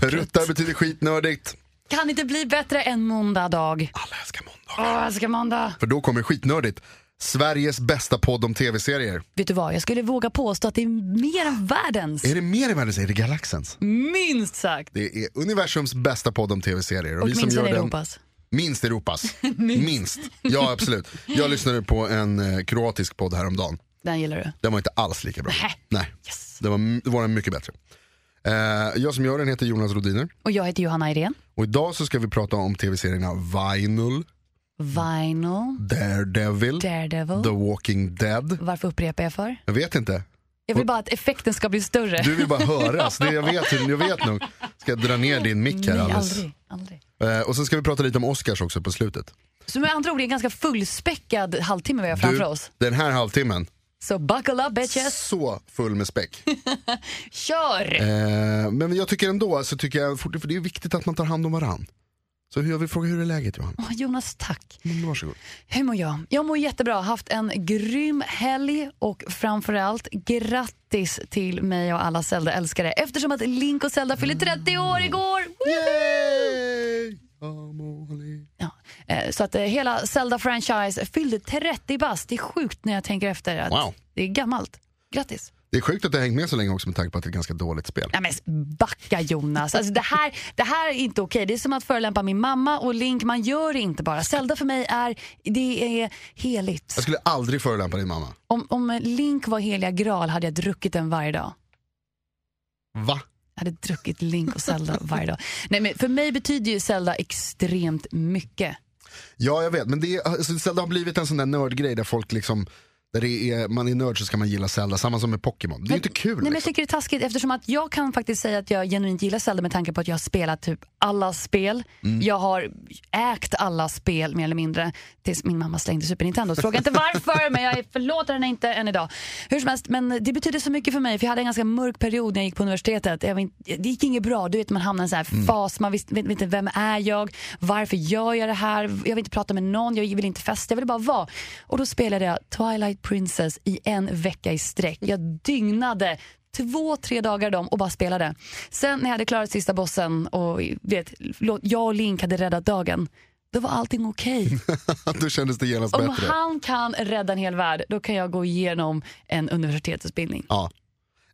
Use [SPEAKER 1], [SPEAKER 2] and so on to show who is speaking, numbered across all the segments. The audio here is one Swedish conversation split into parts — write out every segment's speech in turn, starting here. [SPEAKER 1] Pruttar betyder skitnördigt.
[SPEAKER 2] Kan inte bli bättre än måndag dag.
[SPEAKER 1] Alla älskar måndag.
[SPEAKER 2] Åh, jag älskar måndag.
[SPEAKER 1] För då kommer skitnördigt. Sveriges bästa podd om tv-serier.
[SPEAKER 2] Vet du vad, jag skulle våga påstå att det är mer än världens.
[SPEAKER 1] Är det mer i världen så är det galaxens.
[SPEAKER 2] Mm. Minst sagt.
[SPEAKER 1] Det är universums bästa podd om tv-serier.
[SPEAKER 2] Och minst än Europas.
[SPEAKER 1] Minst Europas. minst. Ja, absolut. Jag lyssnade på en eh, kroatisk podd häromdagen.
[SPEAKER 2] Den gillar du.
[SPEAKER 1] Den var inte alls lika bra.
[SPEAKER 2] Nähä.
[SPEAKER 1] Nej.
[SPEAKER 2] Yes.
[SPEAKER 1] Den var, m- var den mycket bättre. Eh, jag som gör den heter Jonas Rodiner.
[SPEAKER 2] Och jag heter Johanna Irén.
[SPEAKER 1] Och idag så ska vi prata om tv-serierna Vinyl,
[SPEAKER 2] Vinyl,
[SPEAKER 1] Daredevil,
[SPEAKER 2] Daredevil.
[SPEAKER 1] The Walking Dead.
[SPEAKER 2] Varför upprepar jag för?
[SPEAKER 1] Jag vet inte.
[SPEAKER 2] Jag vill bara att effekten ska bli större.
[SPEAKER 1] Du vill bara höras, det jag vet, jag vet nog. Ska jag dra ner din mick här
[SPEAKER 2] Nej,
[SPEAKER 1] alldeles?
[SPEAKER 2] aldrig, aldrig.
[SPEAKER 1] Eh, och sen ska vi prata lite om Oscars också på slutet.
[SPEAKER 2] Så med andra ord, det är en ganska fullspäckad halvtimme vi har framför
[SPEAKER 1] Du,
[SPEAKER 2] oss.
[SPEAKER 1] den här halvtimmen,
[SPEAKER 2] Så buckle up bitches,
[SPEAKER 1] så full med späck.
[SPEAKER 2] kör!
[SPEAKER 1] Eh, men jag tycker ändå, så tycker jag, fort- för det är viktigt att man tar hand om varann. Så jag vill fråga hur är läget Johan?
[SPEAKER 2] Åh, Jonas, tack.
[SPEAKER 1] Men Varsågod.
[SPEAKER 2] Hur mår jag? Jag mår jättebra, haft en grym helg och framförallt grattis till mig och alla Zelda-älskare eftersom att Link och Zelda fyllde 30 år igår!
[SPEAKER 1] Yay! Amoli.
[SPEAKER 2] Ja. eh, Så att eh, hela Zelda-franchise fyllde 30 bast. Det är sjukt när jag tänker efter att
[SPEAKER 1] Wow.
[SPEAKER 2] det är gammalt. Grattis!
[SPEAKER 1] Det är sjukt att det har hängt med så länge också med tanke på att det är ett ganska dåligt spel.
[SPEAKER 2] Nej, men backa Jonas. Alltså, det, här, det här är inte okej. Det är som att förolämpa min mamma och Link. Man gör det inte bara. Zelda för mig är, det är heligt.
[SPEAKER 1] Jag skulle aldrig förolämpa din mamma.
[SPEAKER 2] Om, om Link var heliga graal hade jag druckit den varje dag.
[SPEAKER 1] Va?
[SPEAKER 2] Jag hade druckit Link och Zelda varje dag. Nej, men för mig betyder ju Zelda extremt mycket.
[SPEAKER 1] Ja, jag vet. Men det, är, alltså, Zelda har blivit en sån där nördgrej där folk liksom, där det är, man är nörd så ska man gilla Zelda, samma som med Pokémon. Det är ju inte kul.
[SPEAKER 2] Nej, men jag
[SPEAKER 1] liksom.
[SPEAKER 2] tycker det är taskigt eftersom att jag kan faktiskt säga att jag genuint gillar Zelda med tanke på att jag har spelat typ alla spel. Jag har ägt alla spel mer eller mindre tills min mamma slängde Super Nintendo. Fråga inte varför men jag förlåter henne inte än idag. Hur som helst, men det betyder så mycket för mig för jag hade en ganska mörk period när jag gick på universitetet. Jag var in- det gick inget bra, du vet man hamnar i en sån här fas, man visste- vet vet inte vem är jag, varför gör jag det här, jag vill inte prata med någon, jag vill inte festa, jag vill bara vara. Och då spelade jag Twilight Princess i en vecka i sträck. Jag dygnade två, tre dagar dem och bara spelade. Sen när jag hade klarat sista bossen och vet, lå- jag och Link hade räddat dagen, då var allting okej.
[SPEAKER 1] Då kändes det genast
[SPEAKER 2] Om
[SPEAKER 1] bättre.
[SPEAKER 2] han kan rädda en hel värld, då kan jag gå igenom en universitetsutbildning.
[SPEAKER 1] Ja.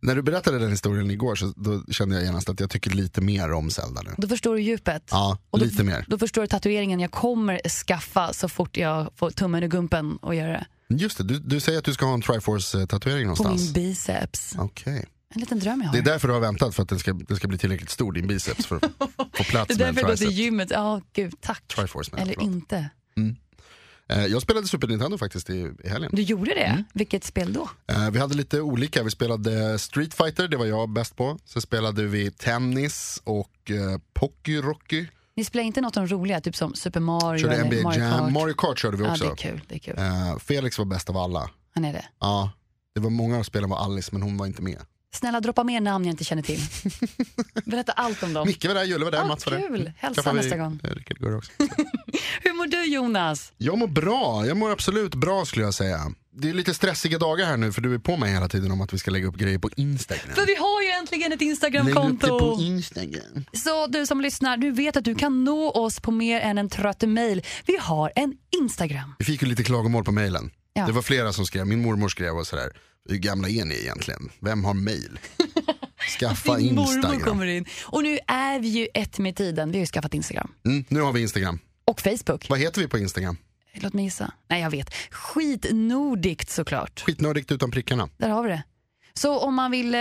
[SPEAKER 1] När du berättade den historien igår så då kände jag genast att jag tycker lite mer om Zelda nu.
[SPEAKER 2] Då förstår du djupet.
[SPEAKER 1] Ja,
[SPEAKER 2] Och då,
[SPEAKER 1] lite mer.
[SPEAKER 2] Då förstår du tatueringen jag kommer skaffa så fort jag får tummen ur gumpen och gör det.
[SPEAKER 1] Just det, du, du säger att du ska ha en Triforce-tatuering
[SPEAKER 2] På min
[SPEAKER 1] någonstans.
[SPEAKER 2] biceps.
[SPEAKER 1] Okej.
[SPEAKER 2] En liten dröm jag har.
[SPEAKER 1] Det är därför du har väntat, för att den ska, den ska bli tillräckligt stor, din biceps, för att få
[SPEAKER 2] Det
[SPEAKER 1] plats
[SPEAKER 2] är
[SPEAKER 1] med en
[SPEAKER 2] därför jag går till
[SPEAKER 1] tricep.
[SPEAKER 2] gymmet. Ja, gud, tack.
[SPEAKER 1] Triforce menar jag,
[SPEAKER 2] Eller
[SPEAKER 1] förlåt.
[SPEAKER 2] inte.
[SPEAKER 1] Eh, Jag spelade Super Nintendo faktiskt i, i helgen.
[SPEAKER 2] Du gjorde det?
[SPEAKER 1] Mm.
[SPEAKER 2] Vilket spel då?
[SPEAKER 1] Eh, Vi hade lite olika. Vi spelade Street Fighter, det var jag bäst på. Sen spelade vi tennis och eh, Pocky Rocky.
[SPEAKER 2] Ni spelar inte något om roliga, typ som Super Mario
[SPEAKER 1] Körde
[SPEAKER 2] eller
[SPEAKER 1] NBA
[SPEAKER 2] Mario
[SPEAKER 1] Jam.
[SPEAKER 2] Kart?
[SPEAKER 1] Mario Kart körde vi
[SPEAKER 2] ja,
[SPEAKER 1] också.
[SPEAKER 2] det är kul. Det är kul.
[SPEAKER 1] Eh, Felix var bäst av alla.
[SPEAKER 2] Han är det.
[SPEAKER 1] Ja, det var många av spelen var Alice, men hon var inte med.
[SPEAKER 2] Snälla droppa mer namn jag inte känner till. Berätta allt om dem.
[SPEAKER 1] Micke var där, Julle var där,
[SPEAKER 2] Ah,
[SPEAKER 1] Mats var där.
[SPEAKER 2] kul.
[SPEAKER 1] Mm.
[SPEAKER 2] Hälsa
[SPEAKER 1] Träffade
[SPEAKER 2] nästa gång.
[SPEAKER 1] eh, Rickard Gurra också.
[SPEAKER 2] Hur mår du Jonas?
[SPEAKER 1] Jag mår bra, jag mår absolut bra skulle jag säga. Det är lite stressiga dagar här nu för du är på mig hela tiden om att vi ska lägga upp grejer på Instagram.
[SPEAKER 2] För vi har ju äntligen ett
[SPEAKER 1] Lägg upp det på
[SPEAKER 2] Instagramkonto.
[SPEAKER 1] Instagram.
[SPEAKER 2] Så du som lyssnar, du vet att du kan nå oss på mer än en trött mejl. Vi har en Instagram.
[SPEAKER 1] Vi fick ju lite klagomål på mejlen.
[SPEAKER 2] Ja.
[SPEAKER 1] Det var flera som skrev, min mormor skrev och sådär. Hur gamla är ni egentligen? Vem har mejl? Skaffa
[SPEAKER 2] Din mormor
[SPEAKER 1] Instagram.
[SPEAKER 2] kommer in. Och nu är vi ju ett med tiden. Vi har ju skaffat Instagram.
[SPEAKER 1] Mm, nu har vi Instagram.
[SPEAKER 2] Och Facebook.
[SPEAKER 1] Vad heter vi på Instagram?
[SPEAKER 2] Låt mig gissa. Nej, jag vet. Skitnordikt såklart.
[SPEAKER 1] Skitnördigt utan prickarna.
[SPEAKER 2] Där har vi det. Så om man vill eh,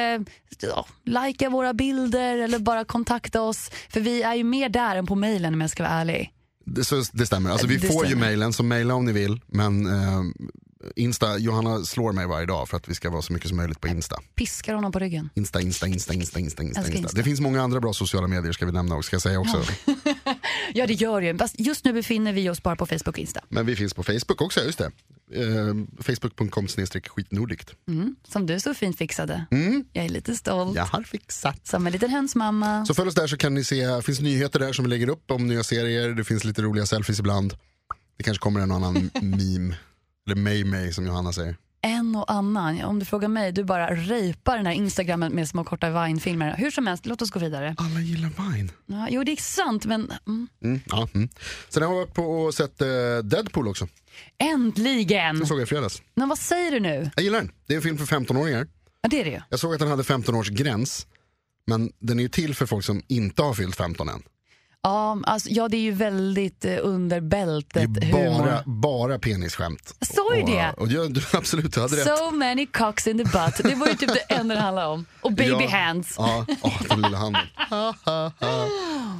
[SPEAKER 2] ja, likea våra bilder eller bara kontakta oss. För vi är ju mer där än på mejlen om jag ska vara ärlig.
[SPEAKER 1] Det, så, det stämmer, alltså, vi
[SPEAKER 2] Det
[SPEAKER 1] får ju
[SPEAKER 2] stämmer.
[SPEAKER 1] mejlen, så mejla om ni vill. Men eh, Insta, Johanna slår mig varje dag för att vi ska vara så mycket som möjligt på Insta.
[SPEAKER 2] Piskar honom på ryggen.
[SPEAKER 1] Insta, Insta, Insta, Insta, Insta, Insta.
[SPEAKER 2] Älskar
[SPEAKER 1] Insta.
[SPEAKER 2] Insta.
[SPEAKER 1] Det finns många andra bra sociala medier ska vi nämna och ska jag säga också.
[SPEAKER 2] Ja, det gör ju. Fast just nu befinner vi oss bara på Facebook och Insta.
[SPEAKER 1] Men vi finns på Facebook också, just det. Eh, Facebook.com snedstreck skitnordigt.
[SPEAKER 2] Som du så fint fixade. Jag är lite stolt.
[SPEAKER 1] Jag har fixat.
[SPEAKER 2] Som en liten hönsmamma.
[SPEAKER 1] Så följ oss där så kan ni se, det finns nyheter där som vi lägger upp om nya serier, det finns lite roliga selfies ibland. Det kanske kommer en och annan meme, eller mej-mej som Johanna säger.
[SPEAKER 2] En och annan. Om du frågar mig, du bara rejpar den här Instagrammen med små korta Vine-filmer. Hur som helst, låt oss gå vidare.
[SPEAKER 1] Alla gillar Vine.
[SPEAKER 2] Ja, jo, det är sant, men mm.
[SPEAKER 1] Mm, ja, mm. Sen har jag varit på och sett eh, Deadpool också,
[SPEAKER 2] äntligen!
[SPEAKER 1] den såg jag i fredags.
[SPEAKER 2] Men vad säger du nu?
[SPEAKER 1] Jag gillar den, det är en film för 15-åringar.
[SPEAKER 2] Ja, det är det ju.
[SPEAKER 1] Jag såg att den hade 15-årsgräns, men den är ju till för folk som inte har fyllt 15 än.
[SPEAKER 2] Ja, alltså, ja, det är ju väldigt eh, under
[SPEAKER 1] Det
[SPEAKER 2] bältet
[SPEAKER 1] är
[SPEAKER 2] humor.
[SPEAKER 1] bara, bara penisskämt.
[SPEAKER 2] Jag sa ju
[SPEAKER 1] Och-
[SPEAKER 2] det.
[SPEAKER 1] Och, jag- du, absolut, du hade rätt.
[SPEAKER 2] So many cocks in the butt. Det var ju typ det enda det handlade om. Och baby
[SPEAKER 1] Ja.
[SPEAKER 2] hands.
[SPEAKER 1] Ja, åh, den lilla handen. Ha, ha, ha.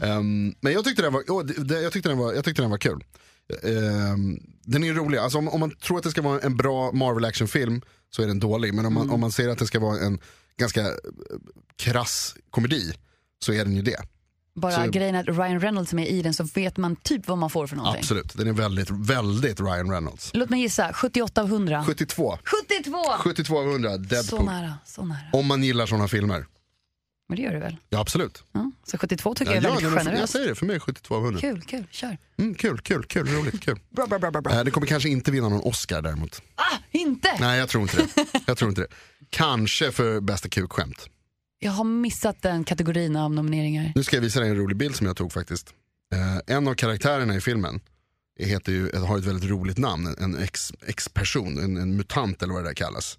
[SPEAKER 1] Ehm, men jag tyckte, den var, åh, det- det- jag, tyckte den var, jag tyckte den var kul. Ehm, den är rolig, alltså, om, om man tror att det ska vara en bra Marvel actionfilm så är den dålig. Men om
[SPEAKER 2] Mm.
[SPEAKER 1] man, om man ser att det ska vara en ganska eh, krass komedi så är den ju det.
[SPEAKER 2] Bara
[SPEAKER 1] så-
[SPEAKER 2] grejen att Ryan Reynolds är med i den så vet man typ vad man får för någonting.
[SPEAKER 1] Absolut, den är väldigt, väldigt Ryan Reynolds.
[SPEAKER 2] Låt mig gissa, 78 av 100.
[SPEAKER 1] 72,
[SPEAKER 2] 72!
[SPEAKER 1] 72 av 100
[SPEAKER 2] Så
[SPEAKER 1] Deadpool.
[SPEAKER 2] nära, så nära.
[SPEAKER 1] Om man gillar sådana filmer.
[SPEAKER 2] Men det gör du väl?
[SPEAKER 1] Ja absolut.
[SPEAKER 2] Ja. Så 72 tycker
[SPEAKER 1] Ja,
[SPEAKER 2] jag är
[SPEAKER 1] den
[SPEAKER 2] väldigt
[SPEAKER 1] är- jag
[SPEAKER 2] generöst.
[SPEAKER 1] säger det, för mig är 72 av 100.
[SPEAKER 2] Kul, kul, kör.
[SPEAKER 1] Mm, kul, kul, kul, roligt, kul.
[SPEAKER 2] Bra, bra, bra, bra, bra.
[SPEAKER 1] Eh, Det kommer kanske inte vinna någon Oscar däremot.
[SPEAKER 2] Ah, inte!
[SPEAKER 1] Nej, jag tror inte det. Jag tror inte det. Kanske för bästa kukskämt.
[SPEAKER 2] Jag har missat den kategorin av nomineringar.
[SPEAKER 1] Nu ska jag visa dig en rolig bild som jag tog faktiskt. Eh, en av karaktärerna i filmen heter ju, har ett väldigt roligt namn. En ex- ex-person, en, en mutant eller vad det där kallas.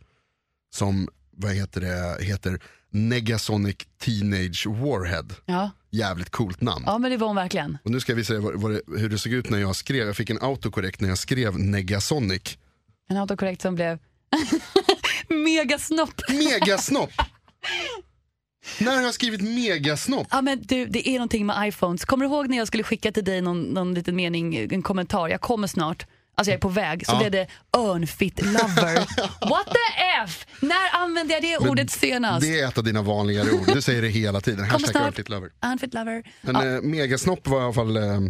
[SPEAKER 1] Som, vad heter det, heter Negasonic Teenage Warhead.
[SPEAKER 2] Ja.
[SPEAKER 1] Jävligt coolt namn.
[SPEAKER 2] ja, men det var hon verkligen.
[SPEAKER 1] Och nu ska jag visa dig vad, vad det, hur det såg ut när jag skrev. Jag fick en autokorrekt när jag skrev Negasonic.
[SPEAKER 2] En autokorrekt som blev megasnopp.
[SPEAKER 1] Megasnopp! När har jag skrivit megasnopp?
[SPEAKER 2] Ja, men du, det är någonting med iPhones. Kommer du ihåg när jag skulle skicka till dig någon, någon liten mening, en kommentar? Jag kommer snart. Alltså jag är på väg. Så
[SPEAKER 1] Ja.
[SPEAKER 2] blev det örnfit lover. What the F! När använde jag det ordet senast?
[SPEAKER 1] Det är ett av dina vanligare ord. Du säger det hela tiden. Hashtag
[SPEAKER 2] Alltså. snart.
[SPEAKER 1] örnfritt lover.
[SPEAKER 2] Örnfit lover.
[SPEAKER 1] Men eh, megasnopp var i alla fall... Eh,